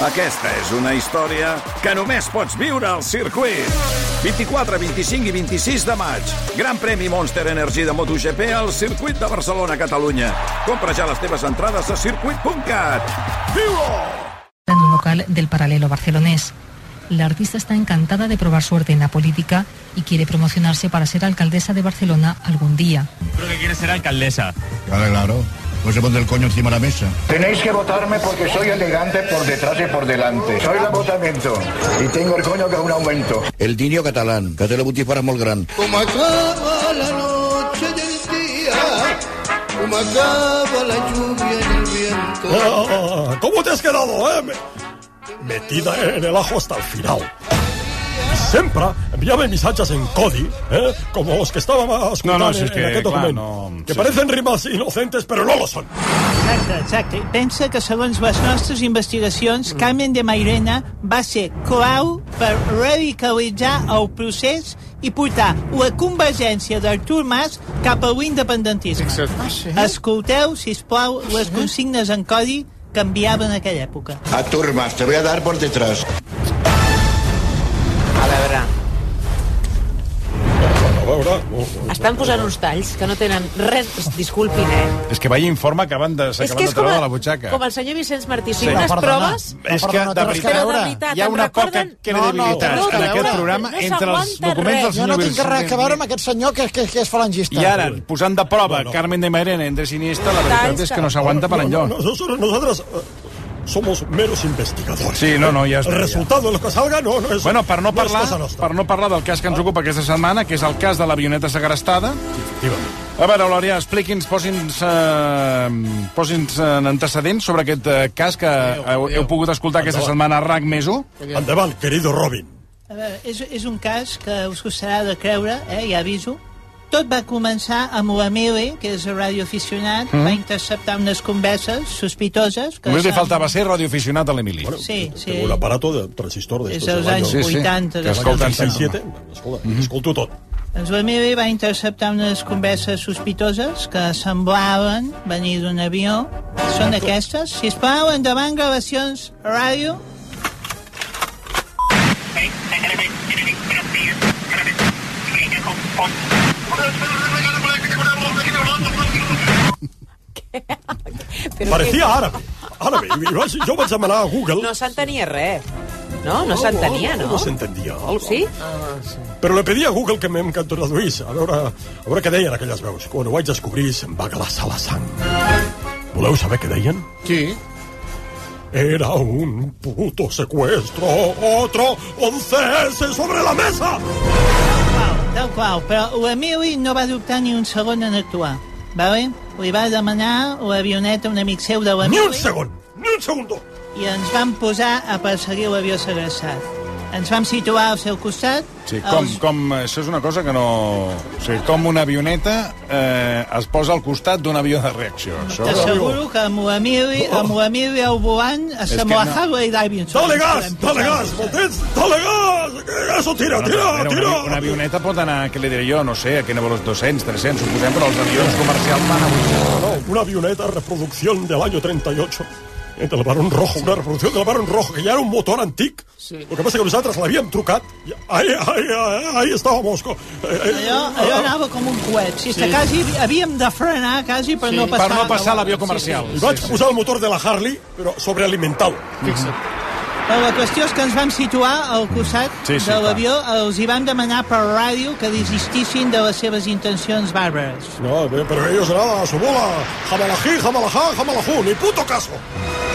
Aquesta és una història que només pots viure al circuit. 24, 25 i 26 de maig. Gran premi Monster Energy de MotoGP al circuit de Barcelona, Catalunya. Compra ja les teves entrades a circuit.cat. Viu-ho! en un local del paralelo barcelonés. La artista está encantada de probar suerte en la política y quiere promocionarse para ser alcaldesa de Barcelona algún día. Creo que quiere ser alcaldesa. Claro, claro. Pues se pone el coño encima de la mesa. Tenéis que votarme porque soy elegante por detrás y por delante. Soy la votamiento y tengo el coño que aún aumento. El niño catalán, que té la botifarra molt gran. Como acaba la noche del día, como acaba la lluvia en el viento. Ah, ¿Cómo te has quedado, eh? Me- Metida en el ajo hasta el final. Siempre enviaba mis hachas en Codi, ¿eh? como los que estábamos No, no, si en, és que, en aquest clar, document, no, que sí, parecen rimas inocentes, però no lo són. Exacte, exacte. Pensa que segons les nostres Mm. investigacions, Carmen de Mairena va ser clau per radicalitzar el procés i portar la convergència d'Artur Mas cap a l'independentisme. Exacte. Escolteu, si plau, les consignes en codi que enviava en aquella època. A Turmas, Ah, te voy a dar por detrás. A veure, A veure... no, no. estan posant uns talls que no tenen res... Disculpin, eh? És que vaya informe que acaban de, s'acaben de treure de la butxaca. com el senyor Vicenç Martí. Si Sí. sí. unes Perdona. proves... és que, de veritat, Però de veritat, hi ha em una poca recorden- credibilitat No, no, en no, aquest no, programa no entre els s'aguanta documents res. del Jo senyor no tinc res Virgili. que veure amb aquest senyor que, que, que és falangista. I ara, posant de prova Carmen de Mairena entre Siniestra, la veritat Talls és que- que no s'aguanta per No, enlloc. no, nosotros, nosotros, eh, somos meros investigadores. Sí, no, no, ja El està. ja. resultado de lo que salga no, no es Bueno, per no, parlar, es cosa nostra. per no parlar del cas que ens ocupa aquesta setmana, que és el cas de l'avioneta segrestada. Efectivament. A veure, Olòria, expliqui'ns, posi'ns, eh, posi'ns en antecedents sobre aquest eh, cas que heu, heu pogut escoltar aquesta setmana a RAC més 1. Endavant, querido Robin. A veure, és, és un cas que us costarà de creure, eh, ja aviso. Tot va començar amb la Mele, que és el radioaficionat, mm. va interceptar unes converses sospitoses... Que Només li estan- faltava ser radioaficionat a l'Emili. Bueno, eh, Sí, sí. Tengo un aparato de transistor de És estos dels del anys año- Sí, sí. 80. Que de la escolten cançó. 87. Escolta, escolto tot. Doncs la Mele va interceptar unes converses sospitoses que semblaven venir d'un avió. Són aquestes. Si plau, endavant gravacions a ràdio. Però Parecía árabe. Árabe. I vaig- jo vaig demanar a Google... No s'entenia res. No, no s'entenia, No no? s'entendia. Ah, Sí? Però le pedia a Google que me'n que traduís, a veure, a veure què deien aquelles veus. Quan ho vaig descobrir, se'm va glaçar la sang. Voleu saber què deien? Sí. Era un puto secuestro, otro, once S sobre la mesa. Tal qual, però l'Emili no va dubtar ni un segon en actuar, vale? Li va demanar l'avioneta a un amic seu de Ni un l'Emili segon, ni un segundo. i ens vam posar a perseguir l'avió segressat. Ens vam situar al seu costat. Sí, com, els- com, això és una cosa que no... O sigui, com una avioneta eh, es posa al costat d'un avió de reacció. Això... T'asseguro que amb l'Emili, amb l'Emili al volant, es que sembla no. Harley Davidson. Dale gas, dale gas, voltets, dale gas. Eso, tira, tira, Una, tira. una avioneta pot anar, què li diré jo, no sé, a quina valor, 200, 300, suposem, però els avions comercials van a 800. No, una avioneta reproducción del año 38. eh, Del Barón Rojo, una reproducción del Barón Rojo, que ya era un motor antic. Lo que pasa es que nosaltres l'havíem trucat. i Ahí, ahí, ahí, ahí estábamos. co- eh, eh, Allò, allò anava com un coet. Si és que quasi havíem de frenar, quasi, per no passar... Per no passar l'avió I comercial. vaig posar el motor de la Harley, però sobrealimentat. Però la qüestió és que ens vam situar al costat Sí, sí, sí, sí, de clar. l'avió, els hi vam demanar per ràdio que desistissin de les seves intencions bàrbares. No, eh, pero ellos nada, a su bola. Jamalají, jamalajá, jamalajú, ni puto caso.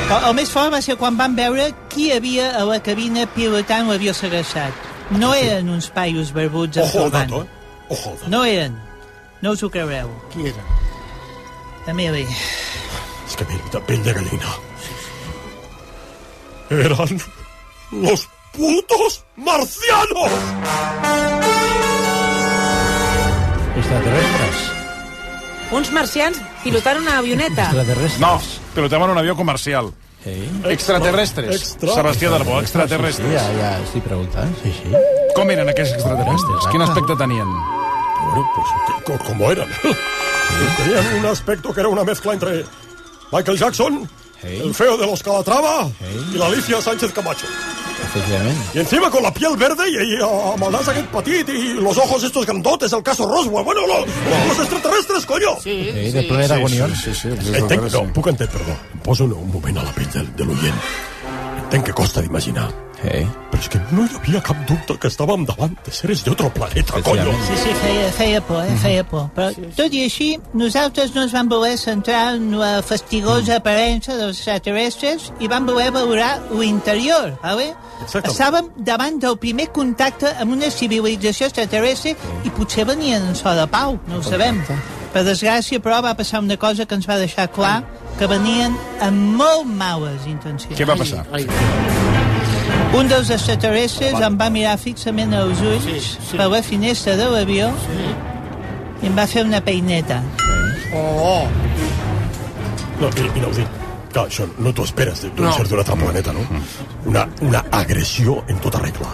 Però el més fort va ser quan vam veure qui hi havia a la cabina pilotant l'avió segressat. No eren uns paios barbuts en Ojo al turbant. dato, eh. Ojo al dato. No eren. No us ho creureu. Qui era? Emili. Es que mira, pell de gallina. Eran los putos marcianos. Uns marcians pilotant una avioneta. No, pilotaven un avió comercial. Extraterrestres. Extra- Sebastià Darbó, extraterrestres. Ja, ja, estic preguntant. Sí, sí. Com eren aquests extraterrestres? Quin aspecte tenien? Bueno, pues co- como eran. Tenían un aspecto que era una mezcla entre Michael Jackson el feo de los Calatrava y la Alicia Sánchez Camacho. Efectivament. Y encima con la piel verde y, y ah, amb el nas aquest petit y los ojos estos grandotes, el caso Roswell. Bueno, lo- lo- los extraterrestres, coño! Sí, Sí, de ple d'agonions. Sí, sí, sí, sí. Entenc, no, puc entendre, perdó. Em poso un, un moment a la pell de, de l'oient. Entenc que costa d'imaginar. Hey. Però és que no hi havia cap dubte que estàvem davant de seres d'altre planeta, coño. Sí, sí, feia, feia por, Mhm. eh? feia por. Però, tot i així, nosaltres no ens vam voler centrar en la Mm. fastigosa aparença dels extraterrestres i vam voler valorar l'interior, vale? Exactament. Estàvem davant del primer contacte amb una civilització extraterrestre i potser venien en so de pau, no ho sabem. Per desgràcia, però, va passar una cosa que ens va deixar clar que venien amb molt males intencions. Què va passar? Un dels extraterrestres em va mirar fixament als ulls per la finestra de l'avió i em va fer una peineta. Oh! No, mira, mira, ho dic. Clar, això no t'ho esperes d'un no. No. ser d'un altre planeta, no? Una, una agressió en tota regla.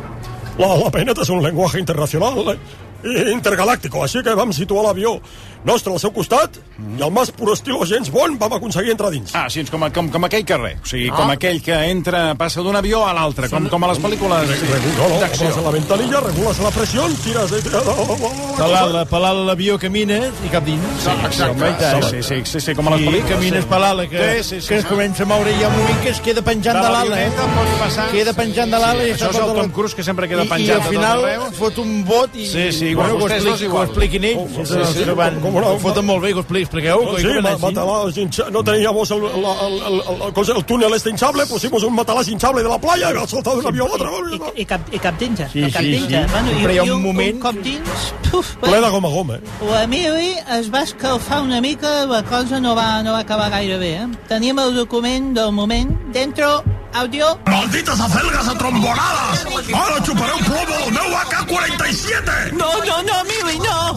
La, la peineta és un llenguatge internacional eh, i intergalàctico, així que vam situar l'avió nostre al seu costat i el més pur estil James Bond vam aconseguir entrar dins. Ah, sí, és com, a- com, com aquell carrer. O sigui, Ah. com aquell que entra, passa d'un avió a l'altre, com, com a les pel·lícules Regula, no, d'acció. obres a la ventanilla, regules la pressió, tires... Eh, tira, la, la, la, la, Pelal, pelal l'avió camina eh, i cap dins. Sí, exacte. home, i tant. Sí, sí, sí, sí, sí, com a les I pel·lícules, camines sí. per l'ala, que, Sí, sí, sí. que es comença a moure i hi ha un moment que es queda penjant De de l'ala. l'avioneta pot Eh? passar. Queda penjant de l'ala i Això és està el per tot Tom Cruise que sempre queda I- penjat de I al tot arreu. final fot un bot i... Sí, sí, bueno, que ho, vostès dos expliqui, que igual. Oh, ho expliquin ells. sí, Sí, sí, sí, sí, van, com- com- ho foten molt bé, que ho expliqui, expliqueu. Sí, ma- que van així. matalàs hincha- no teníamos el, la- el, el, el, el, cosa- el túnel este hinchable, pusimos un matalàs hinchable de la playa y ha saltado un avió a l'altre. I, i, cap, i cap dintre. Sí, cap sí, dintre. sí. Bueno, i, Però hi ha i un moment- Un cop dins... Puf, Ple de goma a goma, eh? La Mili es va escalfar una mica, la cosa no va, no va acabar gaire bé. Eh? Tenim el document del moment. Dentro, audio... Maldites acelgas atrombolades! Ara xupareu plomo del meu AK-47! No, no, no, Mili, no!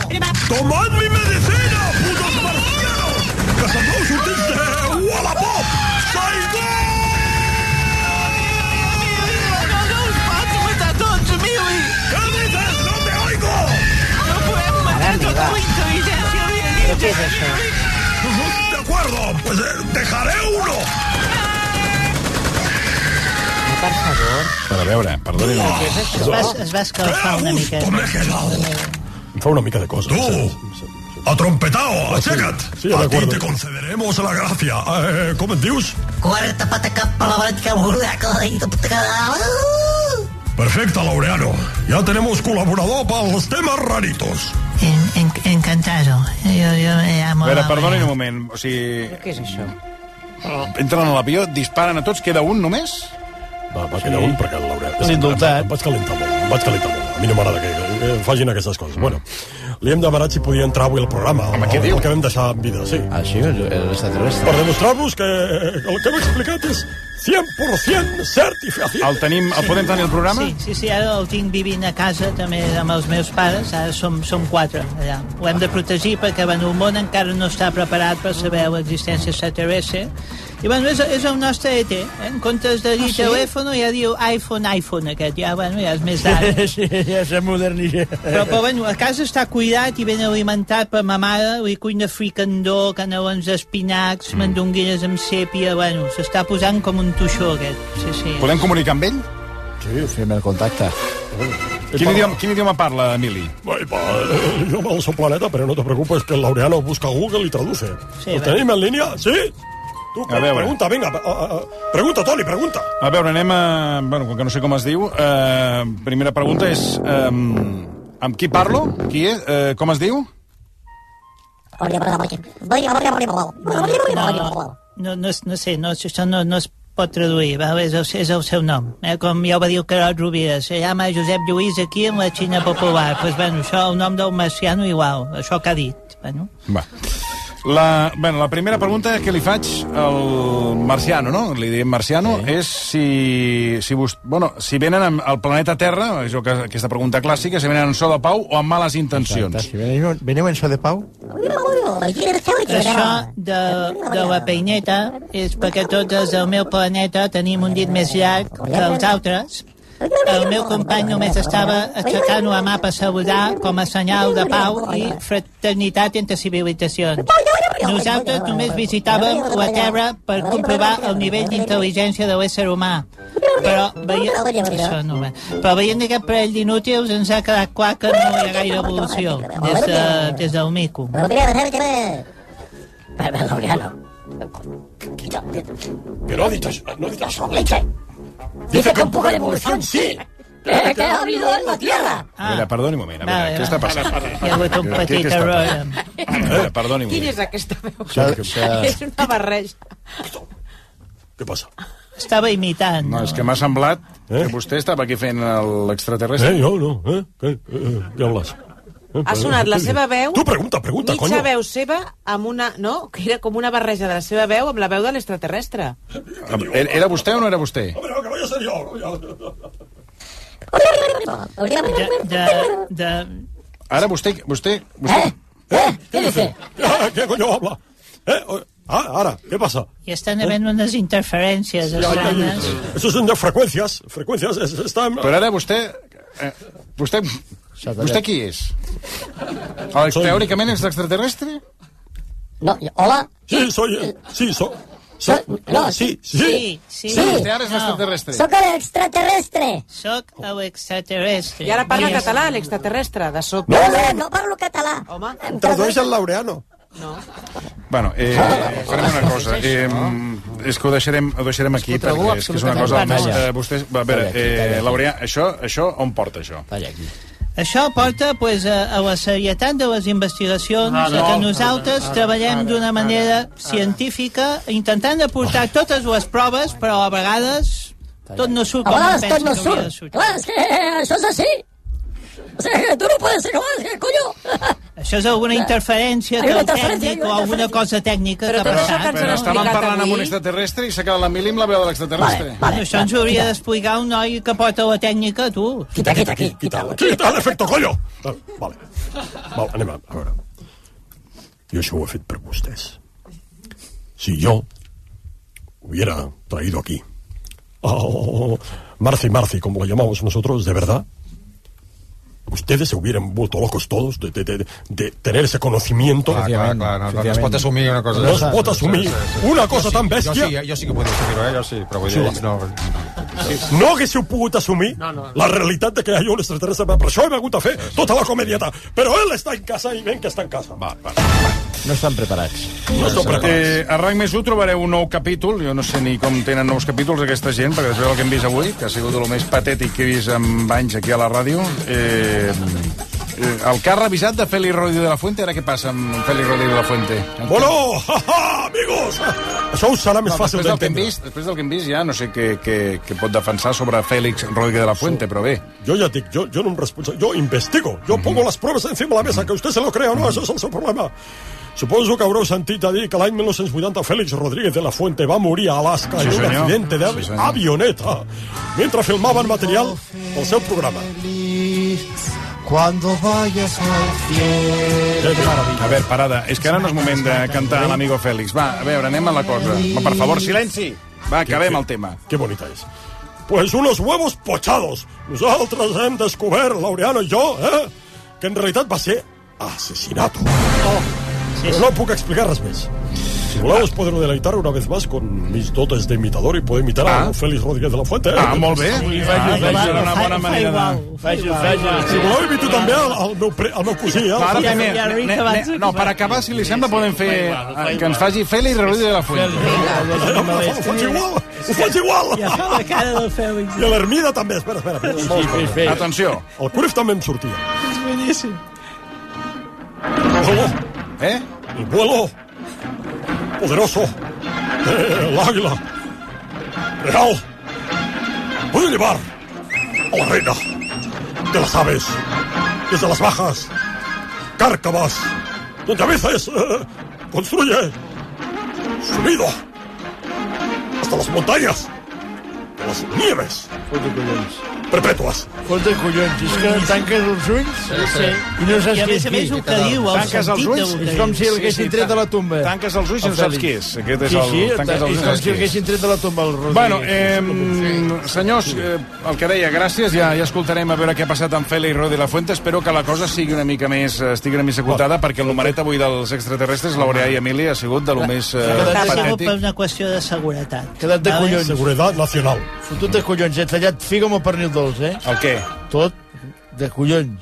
Tomad mi medicina, putos marcianos! Que sembleu sortits de Wallapop! Saigo! Què dices? No te oigo! ¿Qué es eso? De acuerdo, pues eh, dejaré uno! Per a veure, perdoni. Es va, es va escalfar una mica. Em fa una mica de cosa. Tu! Atrompetao, aixeca't! Sí, a ti te concederemos la gracia. Eh, com et dius? Cuarta pata cap a la barca, buraco, i de puta Perfecte, Laureano. Ja tenemos col·laborador pels temes raritos. En, en, encantado. Yo, yo me A llamo... veure, la perdoni Maria. un moment. O sigui... Però què és això? Entren a l'avió, disparen a tots, queda un només? Va, va quedar un perquè el Laureano... Em vaig calentar molt, em vaig calentar molt. A mi no m'agrada que, que facin aquestes coses. Bueno, li hem demanat si podia entrar avui al programa. Home, què diu? El que vam deixar en vida, sí. Ah, sí, el, el extraterrestre. Per demostrar-vos que eh, el que hem explicat és 100% certificació. El tenim, el podem tenir al programa? Sí, sí, sí, ara el tinc vivint a casa també amb els meus pares, ara som, som quatre allà. Ho hem de protegir perquè bueno, el món encara no està preparat per saber l'existència extraterrestre. I bueno, és, és el nostre ET, eh? en comptes de dir Ah, ah, sí? sí? telèfono ja diu iPhone, iPhone aquest, ja, bueno, ja és més d'ara. Sí, ja s'ha modernitzat. Però, però bueno, a casa està cuidat i ben alimentat per ma mare, li cuina fricandó, canelons d'espinacs, mm. mandonguines amb sèpia, bueno, s'està posant com un tuixó aquest. Sí, sí. Podem comunicar amb ell? Sí, fem el contacte. Quin idioma, quin idioma parla, Emili? Ai, va, eh, jo me'l sóc planeta, però no te preocupes que el Laureano busca a Google i traduce. Sí, Sí, va. el tenim en línia? Sí? Tu, A veure. pregunta, vinga, a, a, a, pregunta, Toni, pregunta. A veure, anem a... Bueno, com que no sé com es diu, eh, primera pregunta és... Eh, amb qui parlo? Qui és? Eh, com es diu? No, no, és- no sé, no, això no, no es pot traduir, val? És, el, és el seu nom. Eh? Com ja ho va dir el Carot Rovira, se llama Josep Lluís aquí en la Xina Popular. Pues, bueno, això, el nom del marciano igual, això que ha dit. Bueno. Va. La, bueno, la primera pregunta que li faig al Marciano, no? Li diem Marciano, sí. és si, si, vos, bueno, si venen amb- al planeta Terra, és el que, aquesta pregunta clàssica, si venen en so de pau o amb males intencions. Si veniu, veniu en so de pau? Això de, de la peineta és perquè tots del meu planeta tenim un dit més llarg que els altres. El meu company només estava aixecant la mà per saludar com a senyal de pau i fraternitat entre civilitzacions. Nosaltres només visitàvem la Terra per comprovar el nivell d'intel·ligència de l'ésser humà. Però veient... Això no va. Però veient aquest parell d'inútils ens ha quedat clar que no hi ha gaire evolució des, de, des del mico. Que no ha dit això, no ha dit això. Dice que un poco de evolución sí. Que, que ha habido en la Tierra. A veure, perdoni un moment, a veure, Vale, què va. està passant? Ara, ara. Hi ha hagut un Què- què petit està error. passant? A veure, perdoni un Quina moment. és aquesta veu? S'ha- s'ha- És una barreja. Què passa? Estava imitant. No, és que m'ha semblat Eh? que vostè estava aquí fent el- l'extraterrestre. Eh, jo no, eh? Què, eh, què hablas? Eh, Ha sonat la seva veu... Tu pregunta, pregunta, mitja coño. veu seva amb una... No, que era com una barreja de la seva veu amb la veu de l'extraterrestre. Eh? Era- Era vostè o no era vostè? De, de, de... Ara vostè... vostè, vostè... Què dice? Ah, què coño habla? Eh, oh, ah, ara, què passa? Hi estan havent unes interferències Ja, ja, ja. estranes. Això són de freqüències. Freqüències es- estan... Però ara vostè... Eh, vostè... Vostè qui és? El, teòricament és extraterrestre? No, hola? Sí, soy... eh, Sí, so... so no, sí, sí. Sí, sí. Sí, vostè ara és extraterrestre. Sóc l'extraterrestre. Soc l'extraterrestre. I ara parla Mira. català, l'extraterrestre, de sobte. No, no, no parlo català. Home, Tradueix el laureano. Bueno, eh, farem una cosa. Eh, és que ho deixarem, ho deixarem aquí, Escolta-ho perquè és que és una cosa... absolutament. Eh, vostè, va, a veure, Talla aquí, talla eh, aquí. Laureà, això, això on porta, això? Talla aquí. Això porta pues, a, a la serietat de les investigacions, Ara, a que ara, nosaltres ara, treballem ara, d'una manera científica, intentant aportar totes les proves, però a vegades tot no surt A com un vegades pensa tot no que hauria de surt. sortir. Clar, és que això és així. Eh, O sigui, tu no pots ser com és, que coño. Això és alguna interferència Hi ha una del interferència, hi ha tècnic una o alguna cosa tècnica que ha Però, passat. però estàvem parlant amb un extraterrestre i s'ha quedat l'Emili amb la veu de l'extraterrestre. Bueno, això ens ho hauria d'explicar un noi que porta la tècnica, tu. Quita, quita, quita. Quita, quita l'efecte, collo! Ah, Vale. Val, anem a, a veure. Jo això ho he fet per vostès. Si jo hubiera traído aquí oh, Marci, Marci, como lo llamamos nosotros, de verdad, ustedes se hubieran vuelto locos todos de, de, de, de tener ese conocimiento. Clar, clar, clar, no, no, no es pot assumir una cosa. No es pot assumir una cosa Jo sí, tan Jo bèstia. sí, jo sí que ho podria assumir, eh? jo sí, però vull dir, Sí, ells no... No haguéssiu pogut assumir No, no. la realitat de que hi ha un extraterrestre. Per això hem hagut de fer tota la comedieta. Però ell està en casa i ven que està en casa. Va, va. No estan preparats. No estan preparats. Eh, a Ranc Més 1 trobareu un nou capítol. Jo no sé ni com tenen nous capítols aquesta gent, perquè després del que hem vist avui, que ha sigut el més patètic que he vist en anys aquí a la ràdio, eh, eh, el que ha revisat de Félix Rodríguez de la Fuente, ara què passa amb Félix Rodríguez de la Fuente? Bueno, ja, ja, amigos! Això us serà més No, fàcil després, del que hem d'entendre. vist, després del que hem vist ja no sé què, què, què pot defensar sobre Félix Rodríguez de la Fuente, però bé. Jo ja et dic, jo, jo no em responsable, jo investigo, jo Mhm. pongo les proves encima de la mesa, que usted se lo crea o no, això és el seu problema. Suposo que haureu sentit a dir que l'any 1980 Félix Rodríguez de la Fuente va morir a Alaska en Sí, un senyor. accidente de Sí, senyor. avioneta mentre filmaven material del seu programa. Cuando vayas al cielo. A veure, parada, és que ara no és moment de cantar a l'amigo Félix. Va, a veure, anem a la cosa. Va, per favor, silenci! Va, acabem el tema. Que bonita és. Pues unos huevos pochados. Nosaltres hem descobert, Laureano i jo, eh, que en realitat va ser asesinato. Oh, Pero no puedo explicar res més. Si voleu us podreu deleitar una vez más con mis dotes de imitador y puedo imitar a Félix Rodríguez de la Fuente. eh? Ah, molt bé. Sí, Ah, faci, faci, va, una va, bona fa manera igual, de- fa igual. Faci, faci. Si voleu imito també el, el, meu, pre, el meu cosí, eh? Va, ara el- primer, ne- ne- ne- no, per acabar, si li sembla, podem fer eh, que ens faci Félix Rodríguez de la Fuente. eh, Ho faig igual, ho faig igual. I això la cara del Fèlix. I a l'Ermida també, espera, espera. Sí, espera. sí, sí. Atenció. El Cruyff també em sortia. Doncs És boníssim. Vuelo. ¿Eh? El vuelo. Poderoso. Eh, el águila. Real. Puedo llevar a la reina de las aves. Desde las bajas. Cárcavas. Donde a veces eh, construye su nido. Hasta las montañas. De las nieves. perpètues. Fot de collons, és que tanques els ulls Sí, sí. i no saps I a més a qui és més qui. el que diu, el tanques els sentit ulls, del que és com si diu. l'haguessin Sí, sí, tret de la tumba. Tanques els ulls i no saps qui és. Aquest és sí, el- sí, tanques els és ulls i com saps si qui és. l'haguessin tret de la tumba el Rodríguez. Bueno, eh, senyors, eh, el que deia, gràcies. Ja, ja escoltarem a veure què ha passat amb Fela i Rodi La Fuente. Espero que la cosa sigui una mica més, eh, estigui una mica acotada, perquè el numeret avui dels extraterrestres, l'Aureà i Emili, ha sigut de lo més eh, Ha sigut patètic. per una qüestió de seguretat. Quedat de Vale? collons. Seguretat nacional. Fotut de collons, eh? Tallat figa amb el pernil dolç, eh? El què? Tot de collons.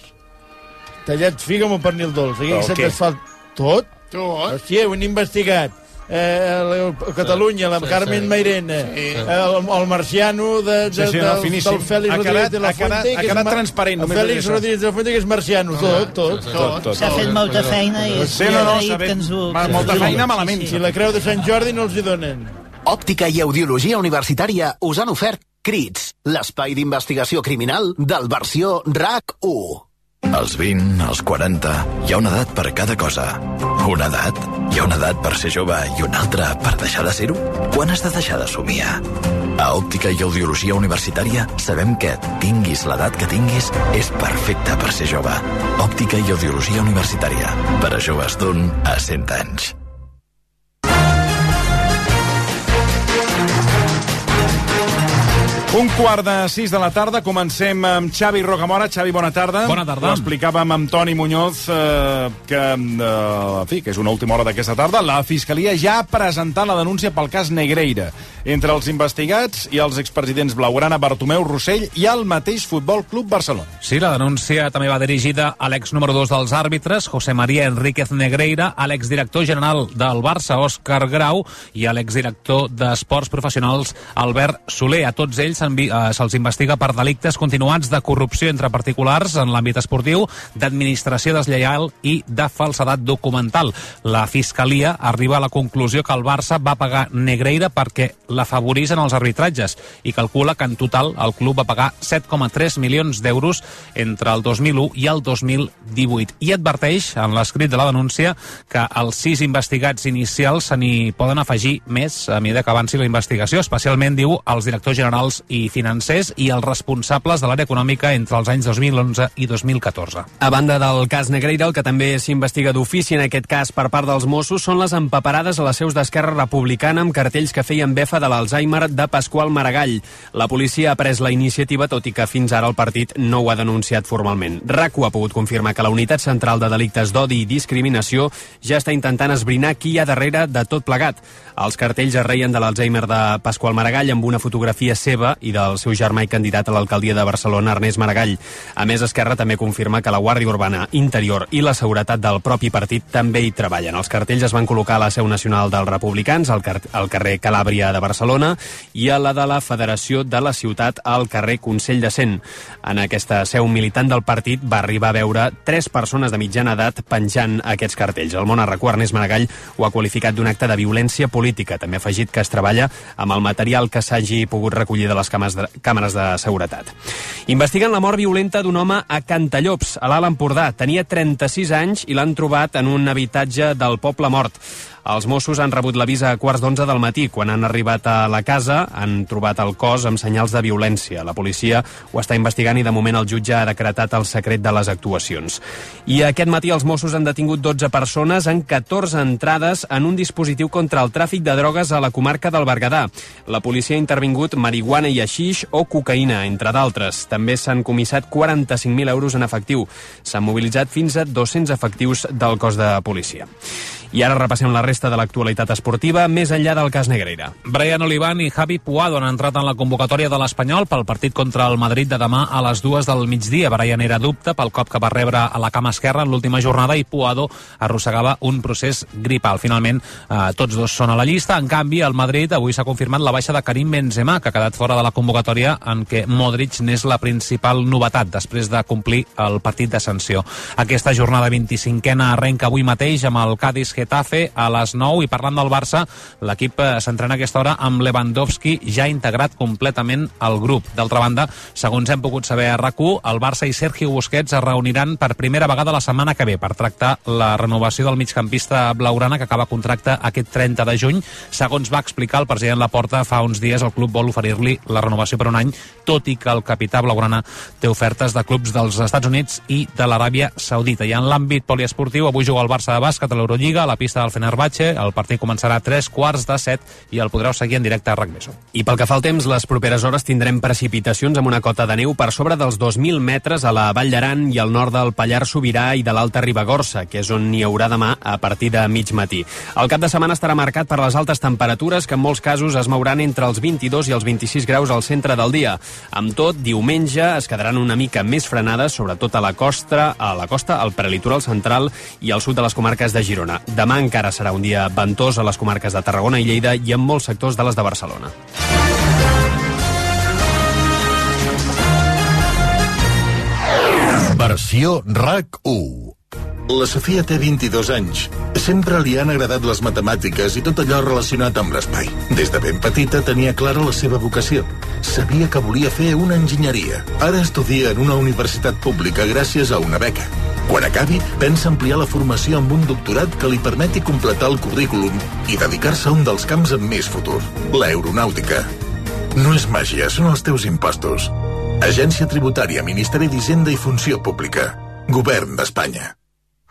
Tallat figa amb el pernil dolç. Aquí Però se't què? desfà tot. Tot. Hòstia, ho han investigat. Eh, el, el Catalunya, la sí, Carmen sí. Mairena, eh, Sí. el, el marciano de, de, Sí, sí, no, del- finíssim. del Félix Ha Rodríguez quedat- de la ha quedat- ha Fuente. que és quedat ma- transparent, El només Félix diré això. Rodríguez de la Fuente, que és marciano. Tot, tot. Tot, tot. S'ha fet molta feina i Sí, i no, no, agraït s'ha fet que ens ho- ma- que molta ens ho- feina sí, malament. sí. Si la Creu de Sant Jordi no els hi donen. Òptica i Audiologia Universitària us han ofert Crits, l'espai d'investigació criminal del versió RAC1. Als 20, als 40, hi ha una edat per cada cosa. Una edat? Hi ha una edat per ser jove i una altra per deixar de ser-ho? Quan has de deixar de somiar? A Òptica i Audiologia Universitària sabem que, tinguis l'edat que tinguis, és perfecte per ser jove. Òptica i Audiologia Universitària. Per a joves d'un a 100 anys. Un quart de sis de la tarda, comencem amb Xavi Rocamora. Xavi, bona tarda. Bona tarda. Ho explicàvem amb Toni Muñoz, eh, que, eh, en fi, que és una última hora d'aquesta tarda. La Fiscalia ja ha presentat la denúncia pel cas Negreira. Entre els investigats i els expresidents Blaugrana, Bartomeu Rossell i el mateix Futbol Club Barcelona. Sí, la denúncia també va dirigida a l'ex número 2 dels àrbitres, José María Enríquez Negreira, a l'exdirector general del Barça, Òscar Grau, i a l'exdirector d'Esports Professionals, Albert Soler. A tots ells s'envi- eh, se'ls investiga per delictes continuats de corrupció entre particulars en l'àmbit esportiu, d'administració deslleial i de falsedat documental. La Fiscalia arriba a la conclusió que el Barça va pagar Negreira perquè l'afavorís en els arbitratges i calcula que en total el club va pagar 7,3 milions d'euros entre el 2001 i el 2018. I adverteix en l'escrit de la denúncia que els sis investigats inicials se n'hi poden afegir més a mesura que avanci la investigació, especialment, diu, els directors generals i financers i els responsables de l'àrea econòmica entre els anys 2011 i 2014. A banda del cas Negreira, el que també s'investiga d'ofici en aquest cas per part dels Mossos són les empaparades a les seus d'Esquerra Republicana amb cartells que feien befa de l'Alzheimer de Pasqual Maragall. La policia ha pres la iniciativa, tot i que fins ara el partit no ho ha denunciat formalment. RACU ha pogut confirmar que la Unitat Central de Delictes d'Odi i Discriminació ja està intentant esbrinar qui hi ha darrere de tot plegat. Els cartells es reien de l'Alzheimer de Pasqual Maragall amb una fotografia seva i del seu germà i candidat a l'alcaldia de Barcelona, Ernest Maragall. A més, Esquerra també confirma que la Guàrdia Urbana, Interior i la Seguretat del propi partit també hi treballen. Els cartells es van col·locar a la seu nacional dels republicans, al, car al carrer Calàbria de Barcelona, i a la de la Federació de la Ciutat, al carrer Consell de Cent. En aquesta seu militant del partit va arribar a veure tres persones de mitjana edat penjant aquests cartells. El món arracó Ernest Maragall ho ha qualificat d'un acte de violència política. També ha afegit que es treballa amb el material que s'hagi pogut recollir de les cames de, càmeres de seguretat. Investiguen la mort violenta d'un home a Cantallops, a l'Alt Empordà. Tenia 36 anys i l'han trobat en un habitatge del poble mort. Els Mossos han rebut l'avís a quarts d'onze del matí. Quan han arribat a la casa, han trobat el cos amb senyals de violència. La policia ho està investigant i, de moment, el jutge ha decretat el secret de les actuacions. I aquest matí els Mossos han detingut 12 persones en 14 entrades en un dispositiu contra el tràfic de drogues a la comarca del Berguedà. La policia ha intervingut marihuana i aixix o cocaïna, entre d'altres. També s'han comissat 45.000 euros en efectiu. S'han mobilitzat fins a 200 efectius del cos de policia. I ara repassem la resta de l'actualitat esportiva, més enllà del cas Negreira. Brian Olivan i Javi Puado han entrat en la convocatòria de l'Espanyol pel partit contra el Madrid de demà a les dues del migdia. Brian era dubte pel cop que va rebre a la cama esquerra en l'última jornada i Puado arrossegava un procés gripal. Finalment, eh, tots dos són a la llista. En canvi, el Madrid avui s'ha confirmat la baixa de Karim Benzema, que ha quedat fora de la convocatòria en què Modric n'és la principal novetat després de complir el partit de sanció. Aquesta jornada 25a arrenca avui mateix amb el Cádiz-Getafe Getafe a les 9 i parlant del Barça, l'equip eh, s'entrena a aquesta hora amb Lewandowski ja integrat completament al grup. D'altra banda, segons hem pogut saber a rac el Barça i Sergio Busquets es reuniran per primera vegada la setmana que ve per tractar la renovació del migcampista blaugrana que acaba contracte aquest 30 de juny. Segons va explicar el president Laporta fa uns dies, el club vol oferir-li la renovació per un any, tot i que el capità blaugrana té ofertes de clubs dels Estats Units i de l'Aràbia Saudita. I en l'àmbit poliesportiu, avui juga el Barça de bàsquet a l'Eurolliga, a la pista del Fenerbahçe. El partit començarà a 3 quarts de 7 i el podreu seguir en directe a RAC Meso. I pel que fa al temps, les properes hores tindrem precipitacions amb una cota de neu per sobre dels 2.000 metres a la Vall d'Aran i al nord del Pallars Sobirà i de l'Alta Ribagorça, que és on n'hi haurà demà a partir de mig matí. El cap de setmana estarà marcat per les altes temperatures, que en molts casos es mouran entre els 22 i els 26 graus al centre del dia. Amb tot, diumenge es quedaran una mica més frenades, sobretot a la costa, a la costa, al prelitoral central i al sud de les comarques de Girona. Demà encara serà un dia ventós a les comarques de Tarragona i Lleida i en molts sectors de les de Barcelona. Versió RAC1. La Sofia té 22 anys. Sempre li han agradat les matemàtiques i tot allò relacionat amb l'espai. Des de ben petita tenia clara la seva vocació. Sabia que volia fer una enginyeria. Ara estudia en una universitat pública gràcies a una beca. Quan acabi, pensa ampliar la formació amb un doctorat que li permeti completar el currículum i dedicar-se a un dels camps amb més futur, l'aeronàutica. No és màgia, són els teus impostos. Agència Tributària, Ministeri d'Hisenda i Funció Pública. Govern d'Espanya.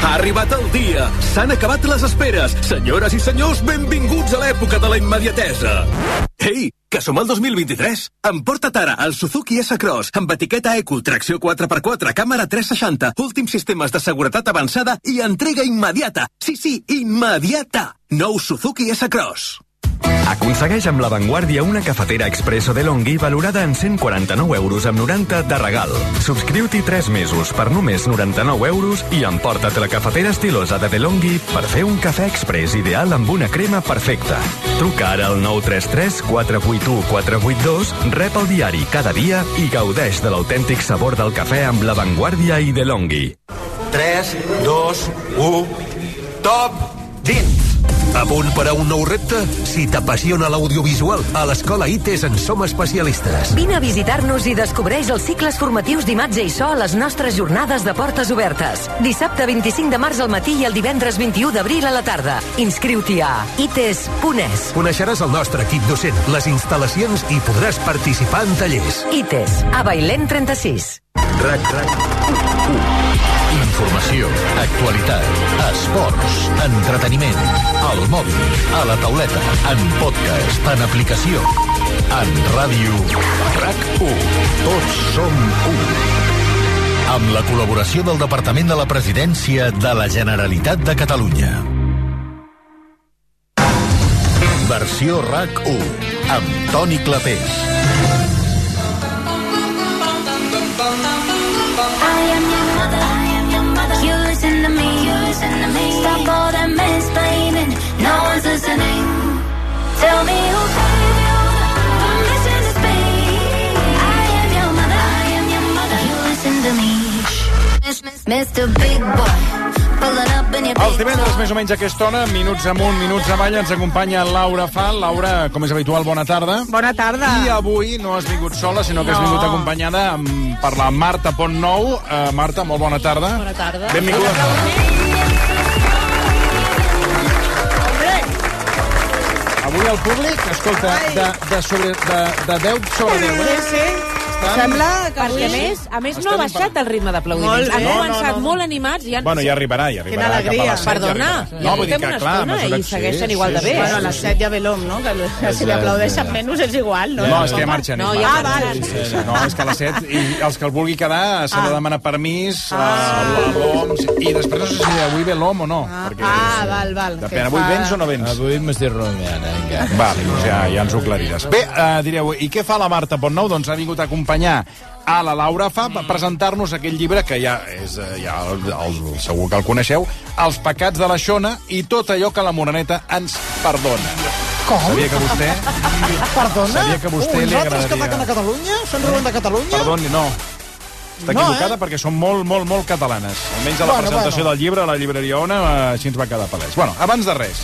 Ha arribat el dia. S'han acabat les esperes. Senyores i senyors, benvinguts a l'època de la immediatesa. Ei, que som al 2023. Emporta't ara el Suzuki S-Cross amb etiqueta Eco, tracció 4x4, càmera 360, últims sistemes de seguretat avançada i entrega immediata. Sí, sí, immediata. Nou Suzuki S-Cross. Aconsegueix amb La Vanguardia una cafetera expresso de Longhi valorada en 149 euros amb 90 de regal. Subscriu-t'hi 3 mesos per només 99 euros i emporta't la cafetera estilosa de DeLonghi per fer un cafè express ideal amb una crema perfecta. Truca ara al 933 481 482, rep el diari cada dia i gaudeix de l'autèntic sabor del cafè amb La Vanguardia i DeLonghi. 3, 2, 1... Top 20! A punt per a un nou repte? Si t'apassiona l'audiovisual, a l'Escola ITES en som especialistes. Vine a visitar-nos i descobreix els cicles formatius d'imatge i so a les nostres jornades de portes obertes. Dissabte 25 de març al matí i el divendres 21 d'abril a la tarda. Inscriu-t'hi a ites.es. Coneixeràs el nostre equip docent, les instal·lacions i podràs participar en tallers. ITES, a Bailén 36. RAC, RAC, u, u. Informació, actualitat, esports, entreteniment, al mòbil, a la tauleta, en podcast, en aplicació, en ràdio, RAC1. Tots som un. Amb la col·laboració del Departament de la Presidència de la Generalitat de Catalunya. Versió RAC1, amb Toni Clapés. Stop all that mansplaining. No one's listening. Tell me who gave you permission to speak. I am your mother. I am your mother. You listen to me. Miss- miss- Mr. Big Boy, pulling up in your Els big divendres, més o menys a aquesta hora, minuts amunt, minuts avall, ens acompanya Laura Fal. Laura, com és habitual, bona tarda. Bona tarda. I avui no has vingut sola, sinó que has No. vingut acompanyada amb, per la Marta Pont Nou. Uh, Marta, molt bona tarda. Bona tarda. Benvinguda. Avui el públic, escolta, de, de, sobre, de, de 10 sobre 10, eh? Sí, Estan- Perquè, a més, a més no ha Estan baixat el ritme Molt d'aplaudiments. bé. Han No, no, començat no. molt animats i han... Bueno, ja arribarà, ja Quina arribarà cap a alegria. les set, ja Perdona, arribarà. ja portem una estona clar, i segueixen igual de bé. Bueno, a les 7 ja ve l'om, no? Que si li aplaudeixen menys és igual, no? No, és que ja marxen. No, ja ja ah, marxen. val. Sí, sí, No, és que a les 7, i els que el vulgui quedar s'ha de demanar permís, ah. l'OM, i després no sé si avui ve l'OM o no. Ah. Perquè Ah, val, val. Doncs depèn, avui vens o no vens? Avui Ah, m'estic rumiant, vinga. Va, doncs ja, ja ens ho aclariràs. Bé, eh, direu, i què fa la Marta Pontnou? Doncs ha vingut a acompanyar a la Laura Fa Mm. per presentar-nos aquell llibre que ja és eh, ja el, el, segur que el coneixeu, Els pecats de la Xona i tot allò que la Moreneta ens perdona. Com? Sabia que vostè... Perdona? Sabia que a vostè Ui, li nosaltres que agradaria. ataquen a Catalunya? Se'n riuen de Catalunya? Perdoni, no. Està No, equivocada eh? perquè són molt, molt, molt catalanes. Almenys a la Bueno, presentació bueno. del llibre a la llibreria Ona, eh, així ens va quedar palès. Bueno, abans de res,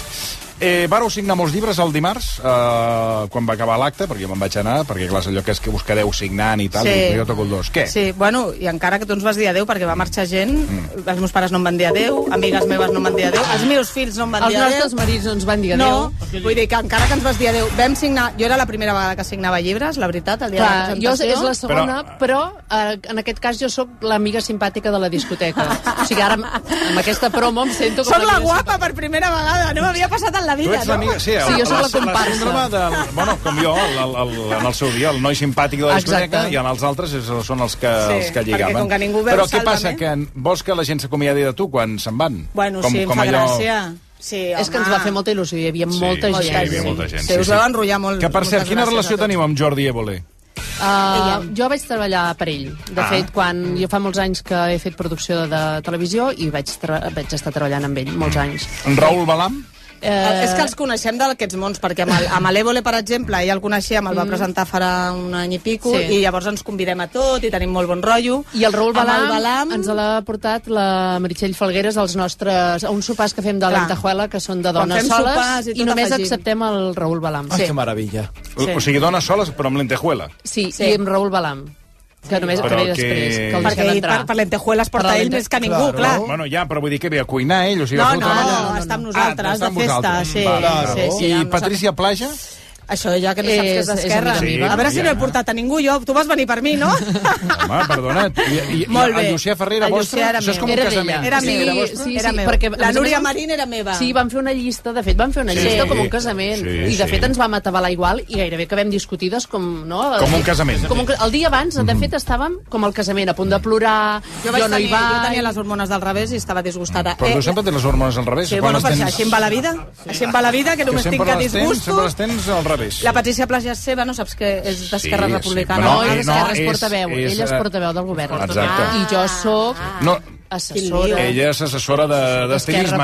eh, vàreu signar molts llibres el dimarts, eh, quan va acabar l'acte, perquè jo me'n vaig anar, perquè clar, és allò que és que buscareu signant i tal, Sí. sí. i jo toco el dos. Què? Sí, bueno, i encara que tu ens vas dir adeu perquè va marxar gent, mm. els meus pares no em van dir adeu, amigues meves no em van dir adeu, els meus fills no em van Els dir adeu. nostres marits no ens van dir adéu. No, vull dir que encara que ens vas dir adeu, vam signar... Jo era la primera vegada que signava llibres, la veritat, el dia Clar, de jo la és és presentació. la segona, però, eh, en aquest cas jo sóc l'amiga simpàtica de la discoteca. o sigui, ara amb, amb aquesta promo em sento com Soc la l'amiga guapa per primera vegada, no m'havia passat en la vida, Tu ets l'amiga... no? Sí, el- Sí, jo sóc la comparsa. síndrome del... Bueno, com jo, el, el, el, en el seu dia, el noi simpàtic de la discoteca, Exacte. i en els altres és, són els que, Sí, els que perquè lligaven. com que ningú veu Però què Sálvame- passa? Que en- vols que la gent s'acomiadi de tu quan se'n van? Bueno, sí, em fa gràcia. Sí, home. És que ens va fer molta il·lusió, hi havia Sí, molta sí, gent. hi havia molta gent, sí, us sí. vau enrotllar molt. Que, per cert, moltes quina gràcies relació a tots. teniu amb Jordi Évole? Uh, jo vaig treballar per ell. De Ah. ah. fet, quan jo fa molts anys que he fet producció de, de televisió i vaig, tra- vaig estar treballant amb ell molts anys. En Raül Balam? Eh... És que els coneixem d'aquests mons, perquè amb el- amb l'Evole, per exemple, ja el coneixíem, el va presentar farà un any i pico, Mm. Sí. sí. i llavors ens convidem a tot, i tenim molt bon rotllo. I el Raül Amb el Balam, Balam- Balam ens l'ha portat la Meritxell Falgueres als nostres, a uns sopars que fem de Clar. l'Antajuela, que són de Quan dones fem sopars soles, i i, tot només afegim. acceptem el Raül Balam. Ai, Sí. que Meravella. Sí. O sigui, dones soles, però amb lentejuela. Sí, sí, i amb Raül Balam, que només Però que ve que- després, que el Perquè deixem ell entrar. per- per lentejuelas porta ell més que ningú, Claro. clar. Bueno, ja, però vull dir que ve a cuinar ell, o sigui, No, va fer Ah, no, el treball... no, no, està amb nosaltres, està amb de festa, vosaltres. sí, Vale, sí, vale. sí, I amb Patricia Plaja? Això ja que no saps que eh, és És- és d'esquerra. amiga meva. a veure si no he portat a ningú jo. Tu vas venir per mi, no? Home, perdona't. I, i, Molt i bé. el Llucià Ferrer era El vostre? Llucià era Això és com meu. un Era casament. d'ella. Era Sí, meu. era Sí, vostre? sí, Era sí, meu. perquè... a La més a Núria més, Marín era meva. Sí, vam fer una llista, de fet, vam fer una Sí. llista com un casament. Sí, I, de sí. fet, ens vam atabalar igual i gairebé que vam discutides com... No? Com un casament. Com un, ca- el dia abans, Mhm. de fet, estàvem com al casament, a punt de plorar, Jo, jo, vaig no tenir, hi vaig... jo tenia les hormones del revés i estava disgustada. Però tu sempre tens les hormones al revés. Sí, quan bueno, les per això, tens- així em va la vida. Així em va la vida, que només sempre tinc que les tens- disgustos. Sempre les tens al revés. La Patricia Plaja és seva, no saps que és d'Esquerra Sí, sí, Republicana. però no, Ara eh, és no, Esquerra és- portaveu. és- eh, Ell és portaveu del govern. Exacte. Ah, I jo sóc No, assessora. ella és assessora de- d'estilisme, no?